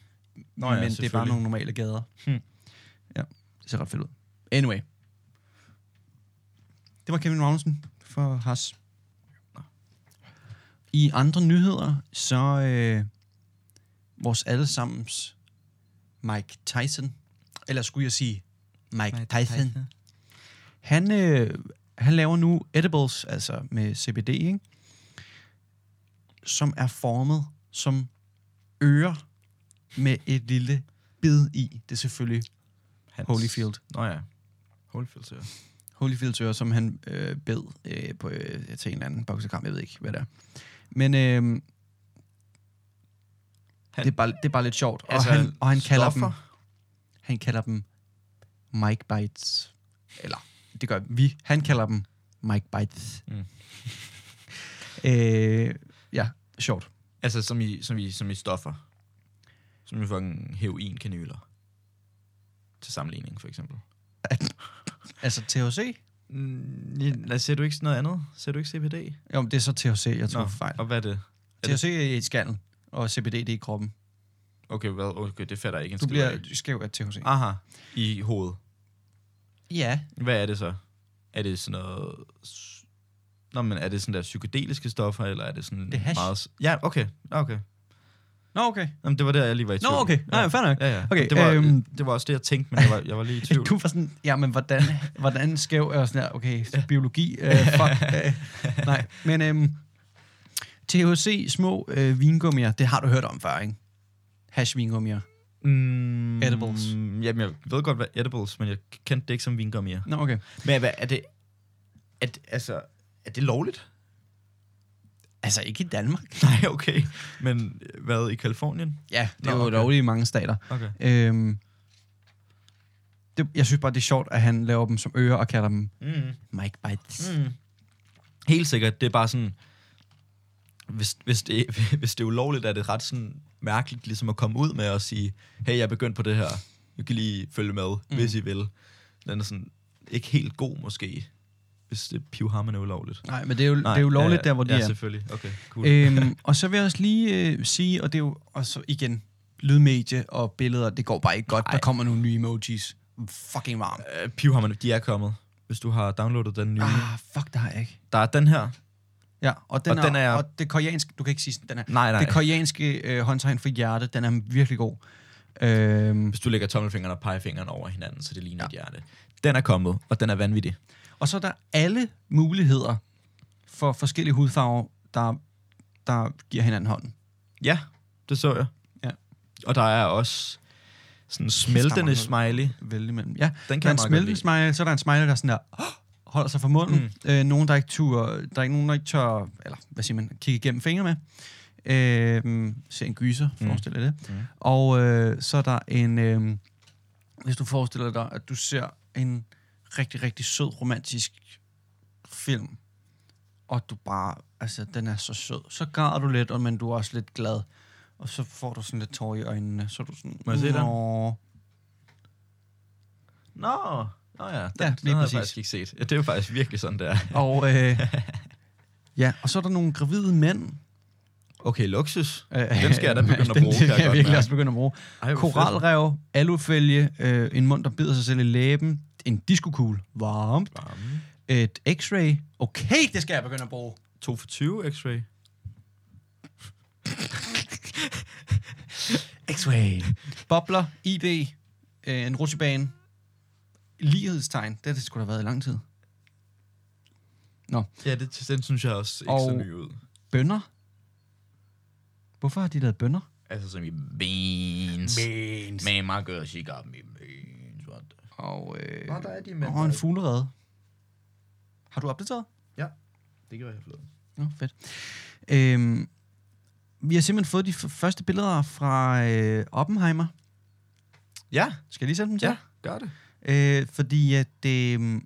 Speaker 2: Nå ja,
Speaker 1: men det er bare
Speaker 2: selvfølgelig.
Speaker 1: nogle normale gader.
Speaker 2: Hmm.
Speaker 1: Ja, det ser ret fedt ud. Anyway. Det var Kevin Magnussen for Has. I andre nyheder, så øh, vores allesammens Mike Tyson, eller skulle jeg sige Mike, Mike Tyson, Tyson. Han, øh, han laver nu edibles, altså med CBD, ikke? som er formet som ører med et lille bid i. Det er selvfølgelig
Speaker 2: Hans.
Speaker 1: Holyfield.
Speaker 2: Nå ja. Holyfield, så ja.
Speaker 1: Holyfields ører, som han øh, bed øh, på, øh, til en eller anden boksekamp. Jeg ved ikke, hvad det er. Men øh,
Speaker 2: Han-
Speaker 1: det, er bare, det er bare lidt sjovt. Og,
Speaker 2: Altså,
Speaker 1: altså, han, og han, kalder dem,
Speaker 2: stoffer?
Speaker 1: han kalder dem Mike Bites. Eller, det gør vi. Han kalder dem Mike Bites.
Speaker 2: Mm.
Speaker 1: Mm. øh, ja, sjovt.
Speaker 2: Altså, som i, som i, som i stoffer. Som i fucking heroinkanyler. Til sammenligning, for eksempel.
Speaker 1: Altså THC?
Speaker 2: Mm, ser du ikke sådan noget andet? Ser du ikke CBD?
Speaker 1: Jo, men det er så THC, jeg tror
Speaker 2: Nå,
Speaker 1: fejl.
Speaker 2: og hvad er det? er det-
Speaker 1: THC er i skallen, og CBD det er i kroppen.
Speaker 2: Okay, hvad? Okay, det fatter jeg Ah. ikke en
Speaker 1: Du
Speaker 2: skid af.
Speaker 1: bliver skæv af THC.
Speaker 2: Aha, i hovedet.
Speaker 1: Ja,
Speaker 2: Hvad er det så? Er det sådan noget... s- Nå, men er det sådan der psykedeliske stoffer, eller er det sådan
Speaker 1: Det er hash.
Speaker 2: meget... s- Ja, okay, okay.
Speaker 1: Nå, okay.
Speaker 2: Jamen, det var der, jeg lige var i
Speaker 1: Nå,
Speaker 2: tvivl.
Speaker 1: okay. Nej,
Speaker 2: ja.
Speaker 1: fair nok.
Speaker 2: Ja, ja.
Speaker 1: Okay,
Speaker 2: det, var,
Speaker 1: øhm.
Speaker 2: det var også det, jeg tænkte, men jeg var, jeg var lige i tvivl.
Speaker 1: Du var sådan, ja, men hvordan, hvordan skæv er sådan her, okay, biologi, øh, fuck. Øh, nej, men øhm, THC, små øh, vingummier, det har du hørt om før, ikke? Hash vingummier.
Speaker 2: Mm,
Speaker 1: Edibles.
Speaker 2: Jamen, jeg ved godt, hvad edibles, men jeg kendte det ikke som vingummier.
Speaker 1: Nå, okay.
Speaker 2: Men hvad, er det... Er det, altså, er det lovligt?
Speaker 1: Altså, ikke i Danmark.
Speaker 2: Nej, okay. Men øh, hvad, i Kalifornien?
Speaker 1: Ja, det er
Speaker 2: Nå,
Speaker 1: jo
Speaker 2: okay.
Speaker 1: lovligt i mange stater.
Speaker 2: Okay.
Speaker 1: Øhm, det, jeg synes bare, det er sjovt, at han laver dem som ører og kalder dem
Speaker 2: Mm.
Speaker 1: Mike Bites. Mm.
Speaker 2: Mm. Helt sikkert. Det er bare sådan... Hvis, hvis, det, hvis det er ulovligt, er det ret sådan mærkeligt ligesom at komme ud med og sige, hey, jeg er begyndt på det her. I kan lige følge med, mm. hvis I vil. Den er sådan ikke helt god måske, hvis det pivhammer er ulovligt.
Speaker 1: Nej, men det er jo, Nej, det er jo lovligt ja, der, hvor de
Speaker 2: ja,
Speaker 1: er.
Speaker 2: selvfølgelig. Okay, cool.
Speaker 1: øhm, og så vil jeg også lige øh, sige, og det er jo også igen, lydmedie og billeder, det går bare ikke godt. Ej. Der kommer nogle nye emojis. Fucking varm.
Speaker 2: Øh, pivhammerne, de er kommet. Hvis du har downloadet den nye. Ah.
Speaker 1: Ah, fuck, der har jeg ikke.
Speaker 2: Der er den her.
Speaker 1: Ja, og
Speaker 2: Og
Speaker 1: den, og, er,
Speaker 2: den
Speaker 1: den
Speaker 2: er jeg-
Speaker 1: og det koreanske, du kan ikke sige sådan, den er,
Speaker 2: Nej, nej.
Speaker 1: det koreanske øh, håndtegn for hjerte, den er virkelig god. Øhm,
Speaker 2: Hvis du lægger tommelfingeren og pegefingeren over hinanden, så det ligner ja. et hjerte. Den er kommet, og den er vanvittig.
Speaker 1: og så er der alle muligheder for forskellige hudfarver, der, der giver hinanden hånden.
Speaker 2: Ja, det så jeg.
Speaker 1: Ja.
Speaker 2: Og der er også sådan en
Speaker 1: Der
Speaker 2: smeltende
Speaker 1: mangler-
Speaker 2: smiley.
Speaker 1: Vælge imellem. Ja,
Speaker 2: Den
Speaker 1: Der
Speaker 2: kan
Speaker 1: er
Speaker 2: jeg
Speaker 1: en
Speaker 2: meget godt lide.
Speaker 1: smeltende smiley, så er der en smiley, der er sådan der, "Åh!" holder sig for munden. Mm. Øh, nogen, der ikke tør, der er ikke nogen, der ikke tør, eller hvad siger man, kigge igennem fingre med. Øh, se en gyser, forestil dig det.
Speaker 2: Mm.
Speaker 1: Mm. Og øh, så er der en, øh, hvis du forestiller dig, at du ser en rigtig, rigtig sød romantisk film, og du bare, altså den er så sød. Så græder du lidt, og, men du er også lidt glad. Og så får du sådan lidt tår i øjnene, så er du sådan...
Speaker 2: Må jeg se den?
Speaker 1: "Nå."
Speaker 2: Nå, Nå ja, den,
Speaker 1: Ja,
Speaker 2: den
Speaker 1: lige
Speaker 2: har jeg
Speaker 1: præcis.
Speaker 2: faktisk ikke set. Ja, det er jo faktisk virkelig sådan, der.
Speaker 1: Og, øh, ja, og så er der nogle gravide mænd.
Speaker 2: Okay, luksus.
Speaker 1: Øh,
Speaker 2: Den skal jeg da begynde at bruge,
Speaker 1: Den,
Speaker 2: kan jeg
Speaker 1: den kan
Speaker 2: godt
Speaker 1: jeg virkelig
Speaker 2: mærke.
Speaker 1: også begynde at bruge.
Speaker 2: Ej, hvor fedt.
Speaker 1: Koralrev, alufælge, øh, en mund, der bider sig selv i læben, en diskokugle, varmt,
Speaker 2: Varme.
Speaker 1: et x-ray. Okay, det skal jeg begynde at bruge.
Speaker 2: 2 for 20 x-ray.
Speaker 1: X-ray. Bobler, ID, øh, en rutsjebane, lighedstegn. Det har det skulle have været i lang tid.
Speaker 2: Ja, det, den synes jeg også ikke og...
Speaker 1: Og-
Speaker 2: så ny ud.
Speaker 1: Bønder. Hvorfor har de lavet bønder?
Speaker 2: Altså som i beans.
Speaker 1: Beans.
Speaker 2: Men meget godt, she got me beans. What the...
Speaker 1: Og, øh,
Speaker 2: Nå, der er de
Speaker 1: og en fuglerede. Har du opdateret?
Speaker 2: Det gjorde jeg flot.
Speaker 1: Nå, fedt. Øhm, vi har simpelthen fået de f- første billeder fra øh, Oppenheimer.
Speaker 2: Ja,
Speaker 1: Skal jeg lige sende dem til?
Speaker 2: ja, gør det.
Speaker 1: Øh, fordi at øh,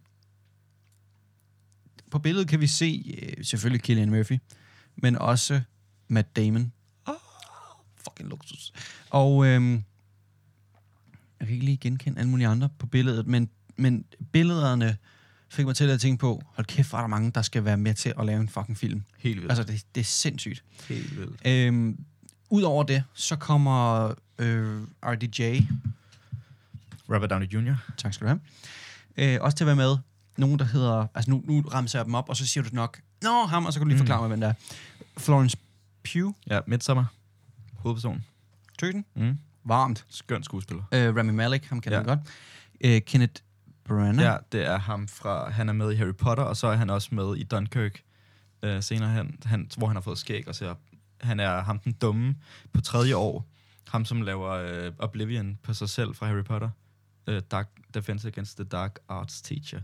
Speaker 1: på billedet kan vi se øh, selvfølgelig Killian Murphy, men også Matt Damon. Oh, fucking luksus. Og øh, jeg kan ikke lige genkende alle mulige andre på billedet, men, men billederne fik mig til at tænke på, hold kæft, hvor er der mange, der skal være med til at lave en fucking film.
Speaker 2: Helt vildt.
Speaker 1: Altså, det, det er sindssygt.
Speaker 2: Helt vildt.
Speaker 1: Øhm, Udover det, så kommer øh, RDJ,
Speaker 2: Robert Downey Jr.
Speaker 1: tak skal du have, øh, også til at være med. Nogen, der hedder, altså nu, nu ramser jeg dem op, og så siger du nok, nå ham, og så kan du lige
Speaker 2: Mm.
Speaker 1: forklare mig, hvem der er. Florence Pugh,
Speaker 2: Ja, Midsommar. Hovedpersonen.
Speaker 1: tøsen,
Speaker 2: Mm.
Speaker 1: varmt.
Speaker 2: Skøn skuespiller.
Speaker 1: Øh, Rami Malek, ham kender
Speaker 2: Ja.
Speaker 1: ja. godt. Øh, Kenneth Branagh, ja.
Speaker 2: Ja, det er ham fra, han er med i Harry Potter, og så er han også med i Dunkirk øh, senere hen, han, hvor han har fået skæg og ser, han er ham den dumme på tredje år, ham som laver øh, Oblivion på sig selv fra Harry Potter, øh, Dark Defense Against the Dark Arts Teacher,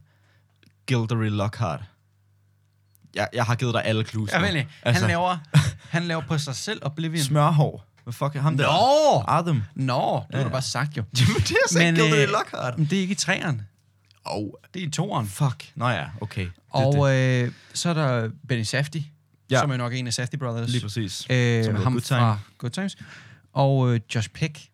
Speaker 2: Gildery Lockhart. Jeg, jeg har givet dig alle clues.
Speaker 1: Ja,
Speaker 2: nu.
Speaker 1: vel, han,
Speaker 2: Altså-
Speaker 1: laver, han laver på sig selv Oblivion.
Speaker 2: Smørhår. Hvad fuck er ham der?
Speaker 1: Nå!
Speaker 2: Artem.
Speaker 1: Nå, det har
Speaker 2: Ja.
Speaker 1: du bare sagt jo.
Speaker 2: Jamen, det er så
Speaker 1: Men,
Speaker 2: ikke Gildery
Speaker 1: øh,
Speaker 2: Lockhart.
Speaker 1: Men det er ikke i træeren,
Speaker 2: Oh,
Speaker 1: det er i toeren.
Speaker 2: fuck. Nå ja, okay. Det, er
Speaker 1: Og øh, så er der Benny Safdie,
Speaker 2: Ja.
Speaker 1: ja. som er nok en af Safdie Brothers.
Speaker 2: det. Lige præcis. Som
Speaker 1: Øh, som
Speaker 2: hedder Good Ah,
Speaker 1: ham Good
Speaker 2: Time.
Speaker 1: fra Good Times. Og øh, Josh Peck.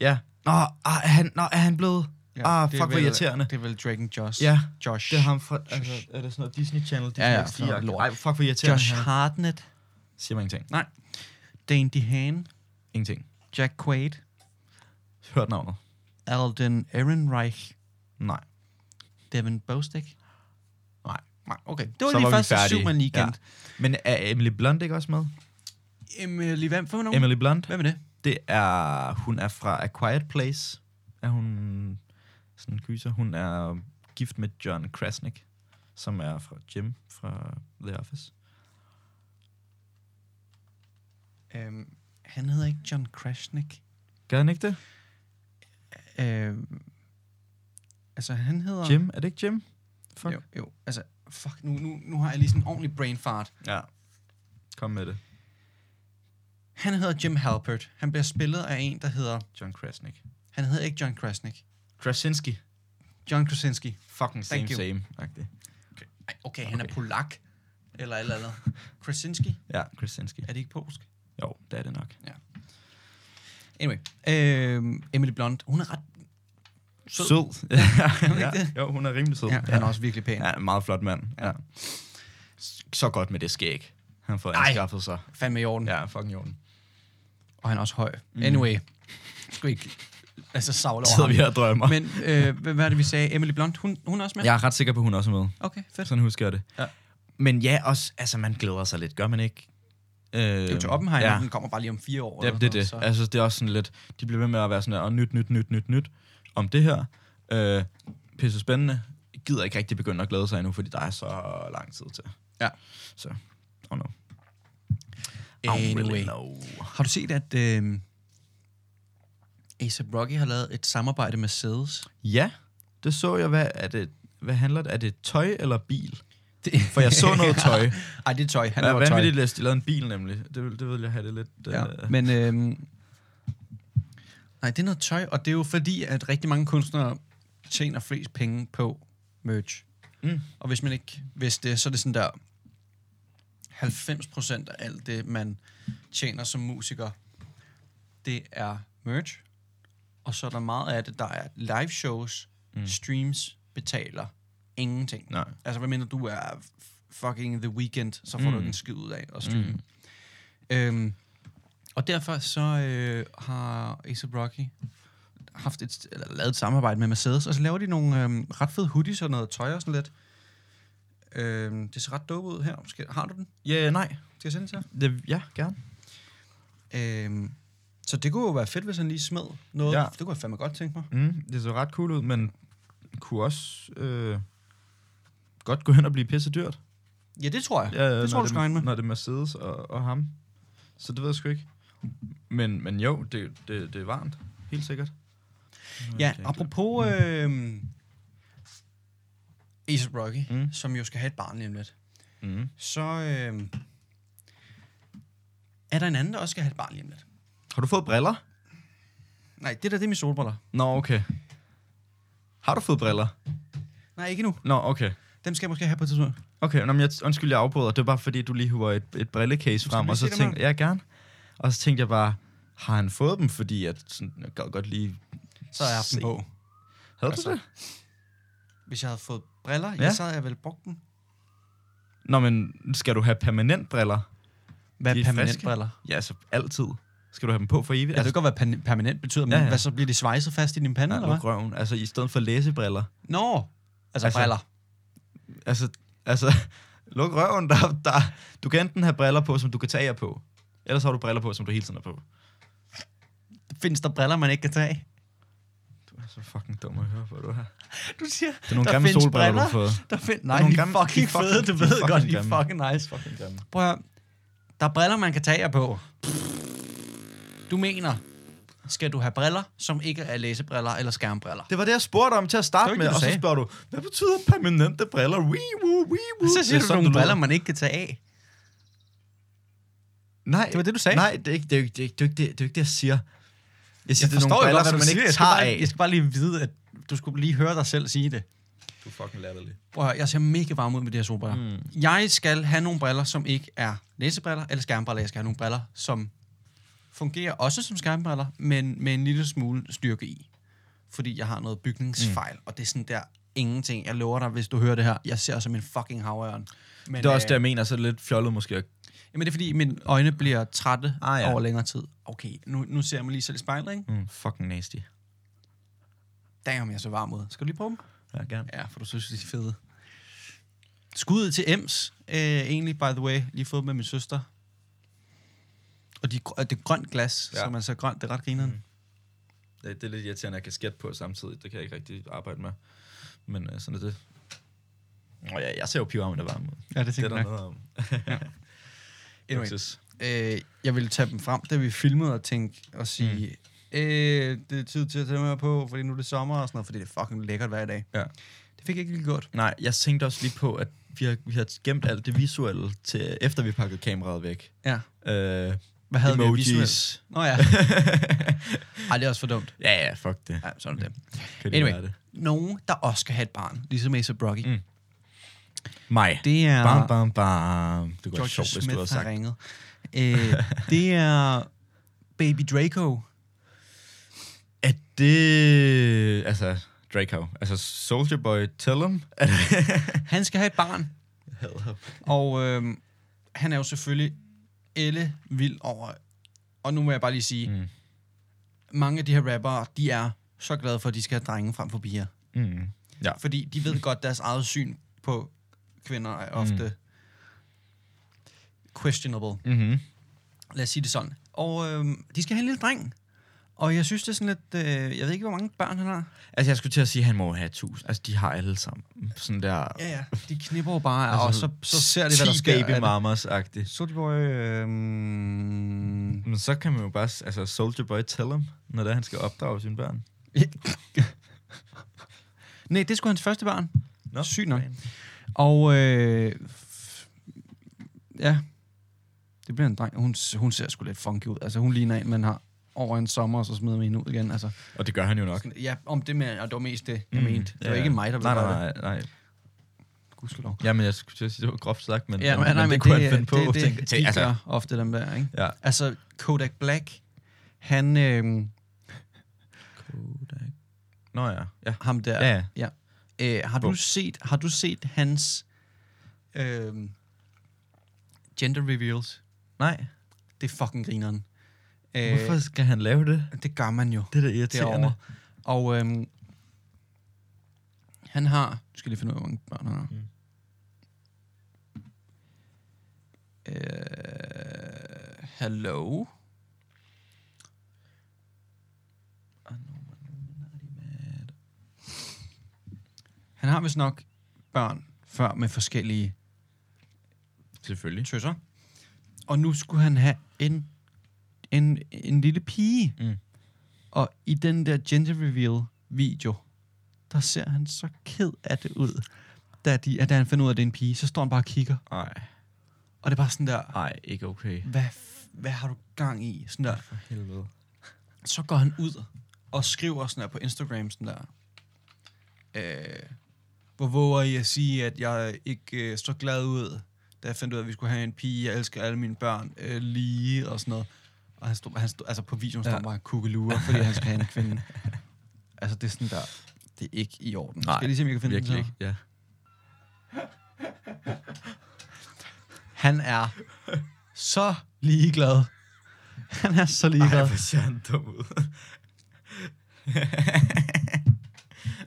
Speaker 2: Ja. Nå, ah, er han, nå, er han blevet... Ja, ah,
Speaker 1: det er
Speaker 2: fuck, hvor
Speaker 1: vel-
Speaker 2: irriterende.
Speaker 1: Det er vel Dragon Josh.
Speaker 2: Ja,
Speaker 1: Josh.
Speaker 2: det er ham fra... Altså, er det sådan noget Disney Channel? Disney
Speaker 1: Ja, ja,
Speaker 2: XD?
Speaker 1: sådan noget lort.
Speaker 2: Ej, fuck, hvor irriterende
Speaker 1: Josh
Speaker 2: han er.
Speaker 1: Hartnett.
Speaker 2: Siger man ingenting.
Speaker 1: Dane DeHaan.
Speaker 2: Ingenting.
Speaker 1: Jack Quaid.
Speaker 2: Hørt navnet?
Speaker 1: Alden Ehrenreich.
Speaker 2: Nej.
Speaker 1: Devin Bostick.
Speaker 2: Nej.
Speaker 1: Nej, okay. Det var
Speaker 2: Så
Speaker 1: lige
Speaker 2: var vi
Speaker 1: første
Speaker 2: færdige.
Speaker 1: Superman Weekend.
Speaker 2: Men er Emily Blunt ikke også med?
Speaker 1: Ja. Emily, øh, hvem, hvem er nogen?
Speaker 2: Emily Blunt,
Speaker 1: Hvem er det?
Speaker 2: det er... Hun er fra A Quiet Place. Er hun sådan en kyser? Hun er gift med John Krasnick, som er fra Jim fra The Office.
Speaker 1: Øhm, han hedder ikke John Krasnick.
Speaker 2: Gør han ikke det?
Speaker 1: Øhm, altså, han hedder...
Speaker 2: Jim? Er det ikke Jim? Fuck.
Speaker 1: Jo, jo, altså, fuck, nu, nu, nu har jeg lige sådan en ordentlig brain fart.
Speaker 2: Ja. Kom med det.
Speaker 1: Han hedder Jim Halpert. Han bliver spillet af en, der hedder...
Speaker 2: John Krasnick.
Speaker 1: Han hedder ikke John Krasnick.
Speaker 2: Krasinski.
Speaker 1: John Krasinski.
Speaker 2: Fucking same,
Speaker 1: Thank you.
Speaker 2: same. Agtig.
Speaker 1: Ej, okay, han
Speaker 2: Okay.
Speaker 1: er polak. Eller et eller andet. Krasinski?
Speaker 2: Ja, Krasinski.
Speaker 1: Er det ikke polsk?
Speaker 2: Jo, det er det nok.
Speaker 1: Anyway. Øhm, Emily Blunt, hun er ret... Sød.
Speaker 2: sød.
Speaker 1: hun ikke
Speaker 2: ja.
Speaker 1: det?
Speaker 2: Jo, hun er rimelig sød.
Speaker 1: Ja, han er også virkelig pæn. Ja.
Speaker 2: ja en meget flot mand. Ja. ja. S- Så godt med det skæg. Han får anskaffet sig.
Speaker 1: Fandme i orden. Ja.
Speaker 2: Ja, fucking jorden.
Speaker 1: Og han er også høj. Anyway. Skal vi ikke... Altså, savle over
Speaker 2: Sidder
Speaker 1: ham.
Speaker 2: vi her og drømmer. Men,
Speaker 1: Men øh, hvad- hvad er det, vi sagde? Emily Blunt, hun, hun er også med?
Speaker 2: jeg er ret sikker på, at hun også er med.
Speaker 1: Okay, fedt.
Speaker 2: Sådan husker jeg det.
Speaker 1: Ja.
Speaker 2: Men ja, også, altså, man glæder sig lidt. Gør man ikke? Øh,
Speaker 1: Det er jo til Oppenheimer,
Speaker 2: Ja.
Speaker 1: ja. den kommer bare lige om fire år.
Speaker 2: Ja,
Speaker 1: eller
Speaker 2: det er
Speaker 1: sådan
Speaker 2: det.
Speaker 1: noget,
Speaker 2: Altså, det er også sådan lidt, de bliver ved med at være sådan, og nyt, nyt, nyt, nyt, nyt, om det her. Øh, pisse spændende. Gider ikke rigtig begynde at glæde sig endnu, fordi der er så lang tid til.
Speaker 1: Ja.
Speaker 2: Så, oh no. I
Speaker 1: Så.
Speaker 2: don't
Speaker 1: Anyway.
Speaker 2: know.
Speaker 1: Har du set, at øh, A$AP Rocky har lavet et samarbejde med Mercedes?
Speaker 2: Ja, det så jeg. Hvad, er det, hvad handler det? Er det tøj eller bil? For jeg så noget tøj.
Speaker 1: Ej, det er tøj. Han
Speaker 2: Hvad
Speaker 1: laver tøj.
Speaker 2: vanvittigt, at de lavede en bil nemlig. Det, vil- det vil jeg have det lidt...
Speaker 1: Ja,
Speaker 2: øh,
Speaker 1: men... Øh, nej, det er noget tøj, og det er jo fordi, at rigtig mange kunstnere tjener flest penge på merch.
Speaker 2: Mm.
Speaker 1: Og hvis man ikke vidste det, så er det sådan der... 90% af alt det, man tjener som musiker, det er merch. Og så er der meget af det, der er live shows,
Speaker 2: Mm.
Speaker 1: mm. streams, betaler ingenting.
Speaker 2: Nej.
Speaker 1: Altså, hvad mener du er f- fucking The Weekend, så får mm. du
Speaker 2: Mm.
Speaker 1: ikke en skid ud af at streame. Mm. Øhm, og derfor så øh, har A$AP Rocky haft et, eller lavet et samarbejde med Mercedes, og så laver de nogle øhm, ret fede hoodies og noget tøj og sådan lidt. Øhm, det ser ret dope ud her. Skal, har du den?
Speaker 2: Ja, nej.
Speaker 1: Skal jeg sende den til
Speaker 2: Det, ja, gerne.
Speaker 1: dig? Øhm, så det kunne jo være fedt, hvis han lige smed noget.
Speaker 2: Ja.
Speaker 1: Ja. Det kunne jeg fandme godt tænke mig.
Speaker 2: Mm, det så ret cool ud, men kunne også øh, godt gå hen og blive pisse dyrt.
Speaker 1: Ja, det tror jeg. det tror
Speaker 2: når
Speaker 1: jeg, du skal regne med.
Speaker 2: Når det er Mercedes og, og ham. Så det ved jeg sgu ikke. Men, men jo, det, det, det er varmt. Helt sikkert.
Speaker 1: Ja,
Speaker 2: Okay.
Speaker 1: apropos øh, A$AP Rocky,
Speaker 2: Mm.
Speaker 1: mm. som jo skal have et barn lige om lidt,
Speaker 2: Mm.
Speaker 1: så øh, er der en anden, der også skal have et barn lige om lidt.
Speaker 2: Har du fået briller?
Speaker 1: Nej, det der, det er mine solbriller.
Speaker 2: Nå, okay. Har du fået briller?
Speaker 1: Nej, ikke endnu.
Speaker 2: Nå, okay.
Speaker 1: Dem skal jeg måske have på et tidspunkt.
Speaker 2: Okay, Nå, men jeg, undskyld, jeg afbryder. Det var bare, fordi du lige hiver et, et brillekase frem,
Speaker 1: lige
Speaker 2: og så
Speaker 1: se dem
Speaker 2: tænkte jeg, ja, gerne. Og så tænkte jeg bare, har han fået dem? Fordi at, sådan, jeg kan godt lige...
Speaker 1: Så har jeg haft dem
Speaker 2: Se.
Speaker 1: på.
Speaker 2: Havde
Speaker 1: Altså.
Speaker 2: du det?
Speaker 1: Hvis jeg havde fået briller, ja.
Speaker 2: Ja.
Speaker 1: så havde jeg vel brugt dem.
Speaker 2: Nå, men skal du have permanent briller?
Speaker 1: Hvad
Speaker 2: De
Speaker 1: er
Speaker 2: er
Speaker 1: permanent
Speaker 2: friske.
Speaker 1: briller?
Speaker 2: Ja, så altid. Skal du have dem på for evigt? Altså,
Speaker 1: Ja, det kan godt være pan- permanent betyder, men ja,
Speaker 2: Ja,
Speaker 1: ja.
Speaker 2: ja.
Speaker 1: hvad så bliver de svejset fast i din pande, ja, eller
Speaker 2: altså,
Speaker 1: hvad?
Speaker 2: nu røven. Altså, i stedet for læsebriller.
Speaker 1: Nå, altså, altså
Speaker 2: Altså-
Speaker 1: briller.
Speaker 2: Altså, altså luk røven. Der, der, du kan enten have briller på, som du kan tage af på. Ellers har du briller på, som du hele tiden er på.
Speaker 1: Findes der briller, man ikke kan tage?
Speaker 2: Du er så fucking dum at høre på, du her.
Speaker 1: Du siger,
Speaker 2: Det er nogle
Speaker 1: der
Speaker 2: grimme
Speaker 1: findes
Speaker 2: solbriller, du har
Speaker 1: briller.
Speaker 2: fået.
Speaker 1: Der find, nej,
Speaker 2: er nogle
Speaker 1: de er
Speaker 2: grimme-
Speaker 1: fucking
Speaker 2: de er
Speaker 1: fede,
Speaker 2: fucking-
Speaker 1: du
Speaker 2: de er
Speaker 1: ved godt,
Speaker 2: fucking
Speaker 1: de er
Speaker 2: grimme.
Speaker 1: fucking nice.
Speaker 2: Fucking grimme.
Speaker 1: Prøv at høre. Der er briller, man kan tage jer på. Du mener, skal du have briller, som ikke er læsebriller eller skærmbriller?
Speaker 2: Det var det, jeg spurgte om til at
Speaker 1: Det var
Speaker 2: starte
Speaker 1: ikke
Speaker 2: med,
Speaker 1: det, du
Speaker 2: og så
Speaker 1: sagde.
Speaker 2: spørger du, hvad betyder permanente briller? Wee, woo, wee, woo.
Speaker 1: Så siger
Speaker 2: Det er
Speaker 1: du
Speaker 2: sådan,
Speaker 1: nogle
Speaker 2: lyder.
Speaker 1: briller, man ikke kan tage af.
Speaker 2: Nej,
Speaker 1: Det var det, du sagde.
Speaker 2: Nej, det er ikke det, er, ikke- det, er, ikke- det, er, ikke det, det, er ikke det, jeg siger. Jeg siger,
Speaker 1: Jeg
Speaker 2: det er nogle
Speaker 1: forstår jo
Speaker 2: briller,
Speaker 1: godt,
Speaker 2: som
Speaker 1: hvad du
Speaker 2: man
Speaker 1: siger.
Speaker 2: ikke
Speaker 1: Jeg skal,
Speaker 2: tager
Speaker 1: bare,
Speaker 2: af.
Speaker 1: jeg skal bare lige vide, at du skulle lige høre dig selv sige det.
Speaker 2: Du er fucking latterlig.
Speaker 1: Prøv at høre, jeg ser mega varm ud med de her solbriller. Mm. Jeg skal have nogle briller, som ikke er læsebriller eller skærmbriller. Jeg skal have nogle briller, som fungerer også som skærmbriller, men med en lille smule styrke i. Fordi jeg har noget bygningsfejl, mm. og det er sådan der ingenting. Jeg lover dig, hvis du hører det her. Jeg ser som en fucking havørn. Men, øh,
Speaker 2: Det er også det, jeg mener, så er det lidt fjollet måske. at-
Speaker 1: Jamen, det er fordi, mine øjne bliver trætte ah,
Speaker 2: Ah,
Speaker 1: ja.
Speaker 2: ja.
Speaker 1: over længere tid. Okay, nu, nu ser jeg mig lige selv i spejlet, ikke?
Speaker 2: Mm, fucking nasty.
Speaker 1: Damn, jeg er så varm ud. Skal du lige prøve dem?
Speaker 2: Ja, gerne.
Speaker 1: Ja, for du synes, de er fede. Skuddet til Ems, øh, egentlig, by the way, lige fået med min søster. Og de, er grø- og det er grønt glas, ja.
Speaker 2: Ja.
Speaker 1: som er så grønt, det er ret grineren. Mm.
Speaker 2: Det, det er lidt irriterende at have kasket på samtidig. Det kan jeg ikke rigtig arbejde med. Men øh, sådan er det. Nå ja, jeg ser jo pivarmen, der varme ud.
Speaker 1: Ja, det
Speaker 2: Det er
Speaker 1: tænker
Speaker 2: der
Speaker 1: jeg.
Speaker 2: noget om.
Speaker 1: Anyway,
Speaker 2: Luksus.
Speaker 1: øh, jeg ville tage dem frem, da vi filmede og tænke og sige, mm. øh, det er tid til at tage dem her på, fordi nu er det sommer og sådan noget, fordi det er fucking lækkert hver dag.
Speaker 2: Ja.
Speaker 1: Det fik jeg ikke lige gjort.
Speaker 2: Nej, jeg tænkte også lige på, at vi har, vi har gemt alt det visuelle, til, efter vi pakkede kameraet væk.
Speaker 1: Ja.
Speaker 2: Øh,
Speaker 1: Hvad havde vi af
Speaker 2: emojis.
Speaker 1: visuelt? Nå ja. Ej, det er også for dumt.
Speaker 2: ja, ja, fuck det.
Speaker 1: Ja, sådan er det.
Speaker 2: Kan
Speaker 1: Anyway.
Speaker 2: være det?
Speaker 1: Nogen, der også skal have et barn, ligesom Asa Brocky. Mm.
Speaker 2: Mm. Mig.
Speaker 1: Det er...
Speaker 2: Bam, bam, bam. Det kunne være
Speaker 1: George
Speaker 2: sjovt, hvis du
Speaker 1: Smith
Speaker 2: havde
Speaker 1: har
Speaker 2: sagt.
Speaker 1: ringet. Øh, det er Baby Draco.
Speaker 2: Er det... Altså, Draco. Altså, Soldier Boy, tell him. Er det...
Speaker 1: Han skal have et barn, og øh, han er jo selvfølgelig elle vild over. Og nu må jeg bare lige sige, mm.
Speaker 2: Mm.
Speaker 1: mange af de her rappere, de er så glade for, at de skal have drenge frem for piger.
Speaker 2: mm. Ja.
Speaker 1: Fordi de ved godt, deres eget syn på kvinder er ofte mm. questionable.
Speaker 2: Mm-hmm.
Speaker 1: Lad os sige det sådan. Og øh, de skal have en lille dreng. Og jeg synes, det er sådan lidt... Øh, jeg ved ikke, hvor mange børn han har.
Speaker 2: Altså, jeg skulle til at sige, at han må have tusind. Altså, de har alle sammen. Sådan der...
Speaker 1: Ja, ja. De knipper jo bare, altså,
Speaker 2: Altså,
Speaker 1: og så, så ser de, hvad der sker.
Speaker 2: baby mamas agtigt
Speaker 1: Soulja Boy... Øh, mm,
Speaker 2: Men så kan man jo bare... s- Altså, Soldier Boy, tell him, når det er, han skal opdrage sine børn.
Speaker 1: Nej, det skulle hans første barn.
Speaker 2: Nå,
Speaker 1: Sygt nok.
Speaker 2: fan.
Speaker 1: Og øh, f- ja, det bliver en dreng. Hun, hun ser sgu lidt funky ud. Altså, hun ligner en, man har over en sommer, og så smider man hende ud igen. Altså,
Speaker 2: Og det gør han jo nok.
Speaker 1: sådan, ja, om det med, og det var mest det, jeg mm, mente. Det var ikke mig, der ville
Speaker 2: nej,
Speaker 1: gøre
Speaker 2: nej,
Speaker 1: det.
Speaker 2: nej, nej.
Speaker 1: Gudskelov.
Speaker 2: Jamen, jeg skulle til at sige, det var groft sagt, men,
Speaker 1: Ja,
Speaker 2: men,
Speaker 1: nej, nej,
Speaker 2: men
Speaker 1: men
Speaker 2: det kunne
Speaker 1: det,
Speaker 2: han finde på.
Speaker 1: øh,
Speaker 2: altså,
Speaker 1: det, det,
Speaker 2: tænker-
Speaker 1: det,
Speaker 2: tænker-
Speaker 1: de gør ofte dem der, ikke?
Speaker 2: ja.
Speaker 1: Altså, Kodak Black, han, øh,
Speaker 2: Kodak. Nå ja, ja.
Speaker 1: ham der,
Speaker 2: Ja, ja.
Speaker 1: Øh, har, du
Speaker 2: Bum.
Speaker 1: set, har du set hans øh, gender reveals?
Speaker 2: Nej.
Speaker 1: Det er fucking grineren. Øh,
Speaker 2: Hvorfor skal han lave det?
Speaker 1: Det gør man jo
Speaker 2: Det er da irriterende.
Speaker 1: derovre. Og øh, han har... Nu skal jeg lige finde ud af, hvor mange børn han har. Mm.
Speaker 2: Mm.
Speaker 1: Øh, hello? Ah, Han har vist nok børn før med forskellige
Speaker 2: Selvfølgelig.
Speaker 1: tøsser. Og nu skulle han have en, en, en lille pige.
Speaker 2: Mm.
Speaker 1: Og i den der gender reveal video, der ser han så ked af det ud. Da, de, at da han finder ud af, at det er en pige, så står han bare og kigger.
Speaker 2: Nej,
Speaker 1: Og det er bare sådan der,
Speaker 2: nej, ikke okay.
Speaker 1: hvad, f- hvad har du gang i? Sådan der.
Speaker 2: For helvede.
Speaker 1: Så går han ud og skriver sådan der på Instagram sådan der, øh, hvor våger I at sige, at jeg ikke øh, så glad ud, da jeg fandt ud af, at vi skulle have en pige, jeg elsker alle mine børn øh, lige og sådan noget. Og han stod, han stod, altså på videoen står
Speaker 2: Ja.
Speaker 1: ja. bare kukkeluer, fordi han skal have en kvinde. Altså det er sådan der, det er ikke i orden.
Speaker 2: Nej,
Speaker 1: skal jeg lige se, om jeg kan finde
Speaker 2: Virkelig
Speaker 1: den
Speaker 2: ikke,
Speaker 1: så?
Speaker 2: ja.
Speaker 1: Han er så ligeglad. Han er så
Speaker 2: Ej,
Speaker 1: ligeglad.
Speaker 2: hvor ser han dum ud.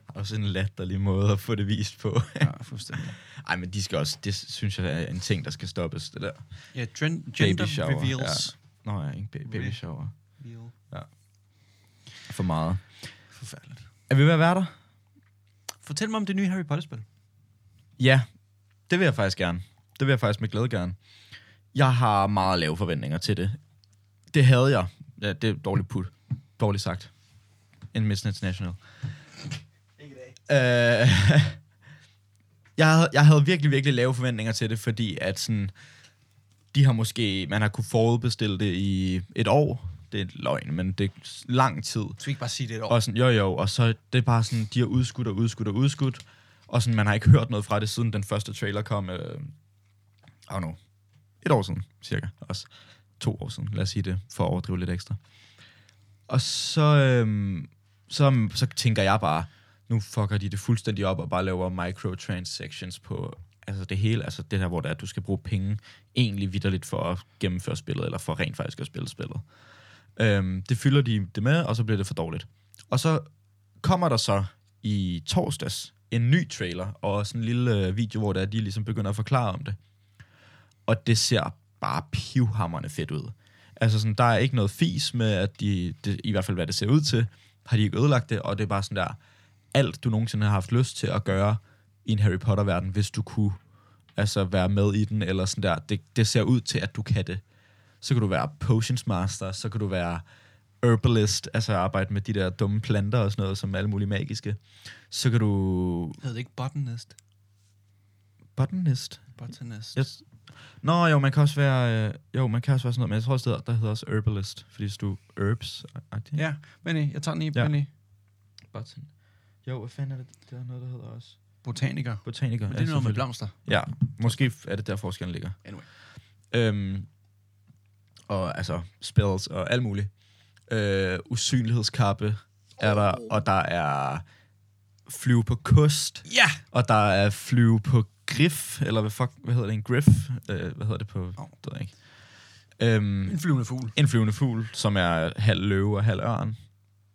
Speaker 2: også en latterlig måde at få det vist på.
Speaker 1: Ja, fuldstændig.
Speaker 2: Ej, men de skal også, det synes jeg er en ting, der skal stoppes, det der.
Speaker 1: Ja, gen- gender
Speaker 2: Baby shower,
Speaker 1: reveals.
Speaker 2: Nå ja, ikke ba- baby
Speaker 1: Re-
Speaker 2: shower.
Speaker 1: Ja.
Speaker 2: For meget.
Speaker 1: Forfærdeligt.
Speaker 2: Er vi ved at være der?
Speaker 1: Fortæl mig om det nye Harry Potter-spil.
Speaker 2: Ja, det vil jeg faktisk gerne. Det vil jeg faktisk med glæde gerne. Jeg har meget lave forventninger til det. Det havde jeg. Ja, det er dårligt put. Dårligt sagt. En Miss International. Ikke dag. Øh, jeg, havde, jeg havde virkelig, virkelig lave forventninger til det, fordi at sådan, de har måske, man har kunne forudbestille det i et år. Det er løgn, men det er lang tid.
Speaker 1: Skal vi ikke bare sige det et år?
Speaker 2: Og sådan, jo jo, og så det er bare sådan, de har udskudt og udskudt og udskudt, og sådan, man har ikke hørt noget fra det, siden den første trailer kom, øh, I don't know, et år siden, cirka, også to år siden, lad os sige det, for at overdrive lidt ekstra. Og så, øh, så, så tænker jeg bare, nu fucker de det fuldstændig op og bare laver microtransactions på altså det hele, altså det der, hvor det er, at du skal bruge penge egentlig vidderligt for at gennemføre spillet, eller for rent faktisk at spille spillet. Øhm, det fylder de det med, og så bliver det for dårligt. Og så kommer der så i torsdags en ny trailer, og sådan en lille øh, video, hvor der er, de ligesom begynder at forklare om det. Og det ser bare pivhammerne fedt ud. Altså sådan, der er ikke noget fis med, at de, det, i hvert fald hvad det ser ud til, har de ikke ødelagt det, og det er bare sådan der, alt du nogensinde har haft lyst til at gøre i en Harry Potter-verden, hvis du kunne altså være med i den, eller sådan der, det, det ser ud til, at du kan det så kan du være potions master, så kan du være herbalist, altså arbejde med de der dumme planter og sådan noget, som er alle mulige magiske. Så kan du...
Speaker 1: Hedder det ikke botanist?
Speaker 2: Botanist?
Speaker 1: Botanist.
Speaker 2: Yes. Nå, jo, man kan også være... Øh, jo, man kan også være sådan noget, men jeg tror også, det hedder- der hedder også herbalist, fordi hvis du herbs... Ja.
Speaker 1: Ja, Benny, jeg tager den i,
Speaker 2: Ja.
Speaker 1: ja. Benny.
Speaker 2: Botan. Jo, hvad fanden er det? Der er noget, der hedder også...
Speaker 1: Botaniker.
Speaker 2: Botaniker.
Speaker 1: Men det er noget med blomster.
Speaker 2: Ja, måske f- er det der forskellen ligger.
Speaker 1: Anyway.
Speaker 2: Øhm, og altså spells og alt muligt. Øh, usynlighedskappe er der, og der er flyve på kost,
Speaker 1: Ja!
Speaker 2: og der er flyve på griff, eller hvad, fuck, hvad hedder det, en griff? Øh, hvad hedder det på,
Speaker 1: Åh.
Speaker 2: det ved jeg ikke. Øhm,
Speaker 1: En flyvende fugl.
Speaker 2: en flyvende fugl, som er halv løve og halv ørn.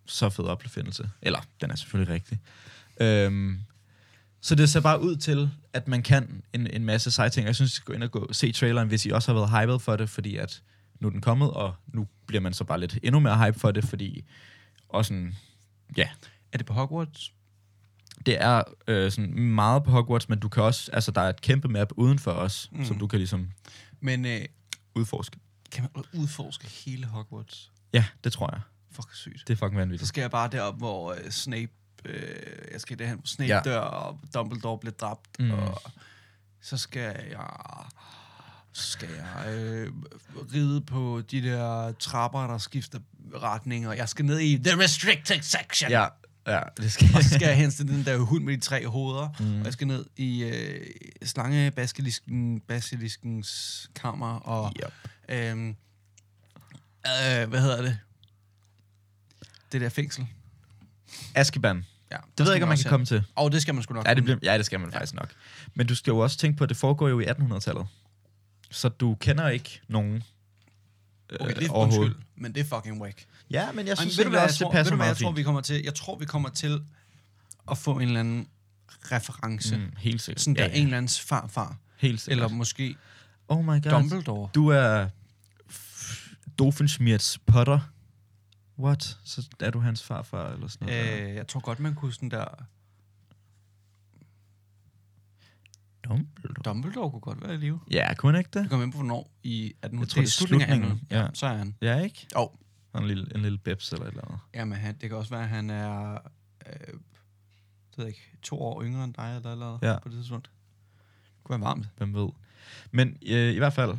Speaker 2: Så fed opfindelse. Eller, den er selvfølgelig rigtig. Øhm, så det ser bare ud til, at man kan en, en masse seje ting. Jeg synes, I skal gå ind og gå, se traileren, hvis I også har været hyped for det, fordi at nu er den kommet, og nu bliver man så bare lidt endnu mere hype for det, fordi og sådan, ja,
Speaker 1: Er det på Hogwarts?
Speaker 2: det er øh, sådan meget på Hogwarts, men du kan også, altså der er et kæmpe map udenfor os, mm. som du kan ligesom
Speaker 1: Men øh,
Speaker 2: udforske.
Speaker 1: kan man udforske hele Hogwarts?
Speaker 2: Ja, det tror jeg.
Speaker 1: Fuck, sygt.
Speaker 2: Det er fucking
Speaker 1: Så
Speaker 2: vanvittigt.
Speaker 1: skal jeg bare derop, hvor øh, Snape... Øh, jeg skal derhen, hvor Snape
Speaker 2: Ja.
Speaker 1: ja. dør, og Dumbledore bliver dræbt,
Speaker 2: Mm.
Speaker 1: mm. og så skal jeg... Så skal jeg øh, ride på de der trapper, der skifter retning, og jeg skal ned i The Restricted Section.
Speaker 2: Ja, ja, det skal
Speaker 1: og så skal jeg hen til den der hund med de tre hoveder, mm. og jeg skal ned i øh, slangebasilisken, basiliskens kammer, og
Speaker 2: Yep.
Speaker 1: øhm, øh, hvad hedder det? Det der fængsel.
Speaker 2: Askeban.
Speaker 1: Ja,
Speaker 2: Det ved jeg ikke, om man kan komme til.
Speaker 1: Og det skal man sgu nok
Speaker 2: Ja, det,
Speaker 1: komme.
Speaker 2: bliver, ja, det skal man ja. faktisk nok. Men du skal jo også tænke på, at det foregår jo i 1800-tallet. Så du kender ikke nogen øh,
Speaker 1: Okay, det er
Speaker 2: overhovedet.
Speaker 1: undskyld, men det er fucking whack.
Speaker 2: Ja, men jeg
Speaker 1: Ej, men
Speaker 2: synes
Speaker 1: ved du,
Speaker 2: Ej,
Speaker 1: hvad jeg
Speaker 2: også,
Speaker 1: tror,
Speaker 2: det
Speaker 1: ved
Speaker 2: passer
Speaker 1: du, hvad jeg
Speaker 2: meget
Speaker 1: tror,
Speaker 2: fint.
Speaker 1: vi kommer til? Jeg tror, vi kommer til at få en eller anden reference. Mm.
Speaker 2: Mm, helt sikkert.
Speaker 1: Sådan der
Speaker 2: ja,
Speaker 1: ja, ja. en eller andens farfar.
Speaker 2: Helt sikkert.
Speaker 1: Eller
Speaker 2: Eller
Speaker 1: måske
Speaker 2: oh my god.
Speaker 1: Dumbledore.
Speaker 2: Du er f- Doofenshmirtz Potter. What? Så er du hans farfar eller sådan noget?
Speaker 1: Øh, jeg tror godt, man kunne sådan der...
Speaker 2: Dumbledore.
Speaker 1: Dumbledore kunne godt være i live.
Speaker 2: Ja, kunne han ikke
Speaker 1: Det
Speaker 2: det?
Speaker 1: kommer ind på, hvornår i 1800.
Speaker 2: Jeg tror, det er slutningen.
Speaker 1: Ja.
Speaker 2: Ja,
Speaker 1: Så er han.
Speaker 2: ja ikke?
Speaker 1: Jo. Oh.
Speaker 2: Han er en lille, en lille bebs eller et eller andet.
Speaker 1: Jamen, han, det kan også være, at han er... Øh, det ved jeg ikke, to år yngre end dig, eller eller
Speaker 2: Ja.
Speaker 1: ja. på det tidspunkt. Det kunne være varmt.
Speaker 2: Hvem ved. Men øh, i hvert fald,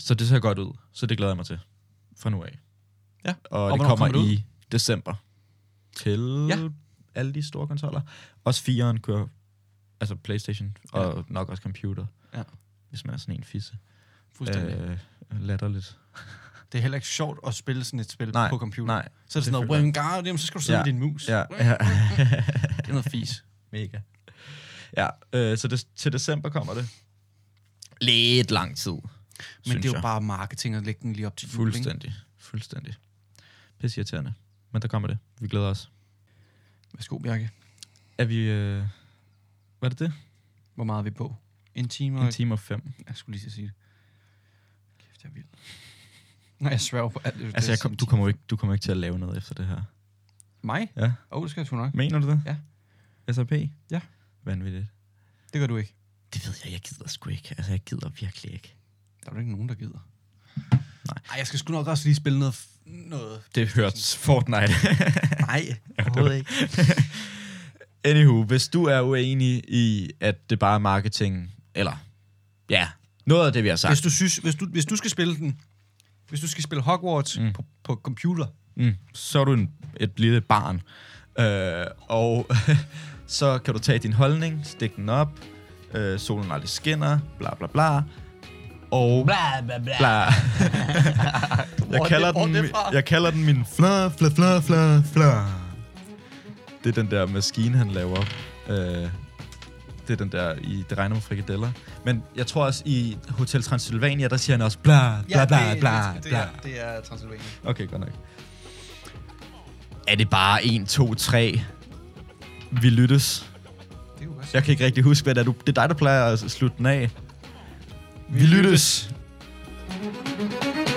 Speaker 2: så det ser godt ud. Så det glæder jeg mig til fra nu af.
Speaker 1: Ja.
Speaker 2: Og, og
Speaker 1: hvornår
Speaker 2: det kommer
Speaker 1: kommer det
Speaker 2: i december. til
Speaker 1: Ja.
Speaker 2: ja. alle de store konsoller. Også 4'eren kører, altså Playstation, og nok også computer.
Speaker 1: Ja.
Speaker 2: Hvis man er sådan en fisse.
Speaker 1: Fuldstændig. Øh,
Speaker 2: latterligt.
Speaker 1: det er heller ikke sjovt at spille sådan et spil
Speaker 2: Nej,
Speaker 1: på computer.
Speaker 2: Nej,
Speaker 1: Så er det
Speaker 2: det
Speaker 1: sådan noget, Wingardium, så skal du sidde
Speaker 2: Ja,
Speaker 1: med din mus.
Speaker 2: ja, ja.
Speaker 1: Det er noget fis.
Speaker 2: Mega. Ja, øh, så det, til december kommer det. Lidt lang tid, Men
Speaker 1: Men det er jo
Speaker 2: bare
Speaker 1: bare marketing at lægge den lige op til jul, ikke?
Speaker 2: Fuldstændig, fuldstændig. Pisseirriterende. Men der kommer det. Vi glæder os.
Speaker 1: Værsgo, Bjarke.
Speaker 2: Er vi... Øh, var det det?
Speaker 1: Hvor meget er vi på? En time og...
Speaker 2: En time og fem.
Speaker 1: Jeg skulle lige til at sige det. Kæft, jeg er vild. Nej, jeg sværger på alt. det- det
Speaker 2: Altså,
Speaker 1: er
Speaker 2: jeg kom,
Speaker 1: sådan-
Speaker 2: du, kommer jo ikke, du kommer ikke til at lave noget efter det her.
Speaker 1: Mig?
Speaker 2: Ja.
Speaker 1: Åh, oh, det skal jeg sgu nok.
Speaker 2: Mener du det?
Speaker 1: Ja.
Speaker 2: SAP?
Speaker 1: Ja.
Speaker 2: Vanvittigt.
Speaker 1: Det gør du ikke.
Speaker 2: Det ved jeg, jeg gider sgu ikke. Altså, jeg gider virkelig ikke.
Speaker 1: Der er jo ikke nogen, der gider.
Speaker 2: Nej.
Speaker 1: Ej, jeg skal sgu nok også lige spille noget... f- noget.
Speaker 2: Det hørte Fortnite.
Speaker 1: Nej, overhovedet ikke.
Speaker 2: Anywho, hvis du er uenig i, at det bare er marketing, eller ja, noget af det, vi har sagt.
Speaker 1: Hvis du, synes, hvis, du, hvis du skal spille den... Hvis du skal spille Hogwarts mm. på, på computer...
Speaker 2: Mm, så er du en, et lille barn. Øh, og så kan du tage din holdning, stikke den op, øh, solen aldrig skinner, bla bla bla. Og
Speaker 1: Bla, bla, bla.
Speaker 2: bla. jeg,
Speaker 1: Hvor er
Speaker 2: kalder
Speaker 1: det- hvor er
Speaker 2: den,
Speaker 1: det
Speaker 2: mi-
Speaker 1: fra?
Speaker 2: jeg kalder den min fla fla fla fla fla. Det er den der maskine, han laver. Øh, det er den der, i det regner med frikadeller. Men jeg tror også, i Hotel Transylvania, der siger han også bla bla bla bla
Speaker 1: det, det,
Speaker 2: bla.
Speaker 1: er, det er Transylvania.
Speaker 2: Okay, godt nok. Er det bare 1, 2, 3? Vi lyttes.
Speaker 1: Det er jo også.
Speaker 2: Jeg kan ikke rigtig huske, hvad det er. Du, det er dig, der plejer at slutte den af. Vi, Vi lyttes. lyttes.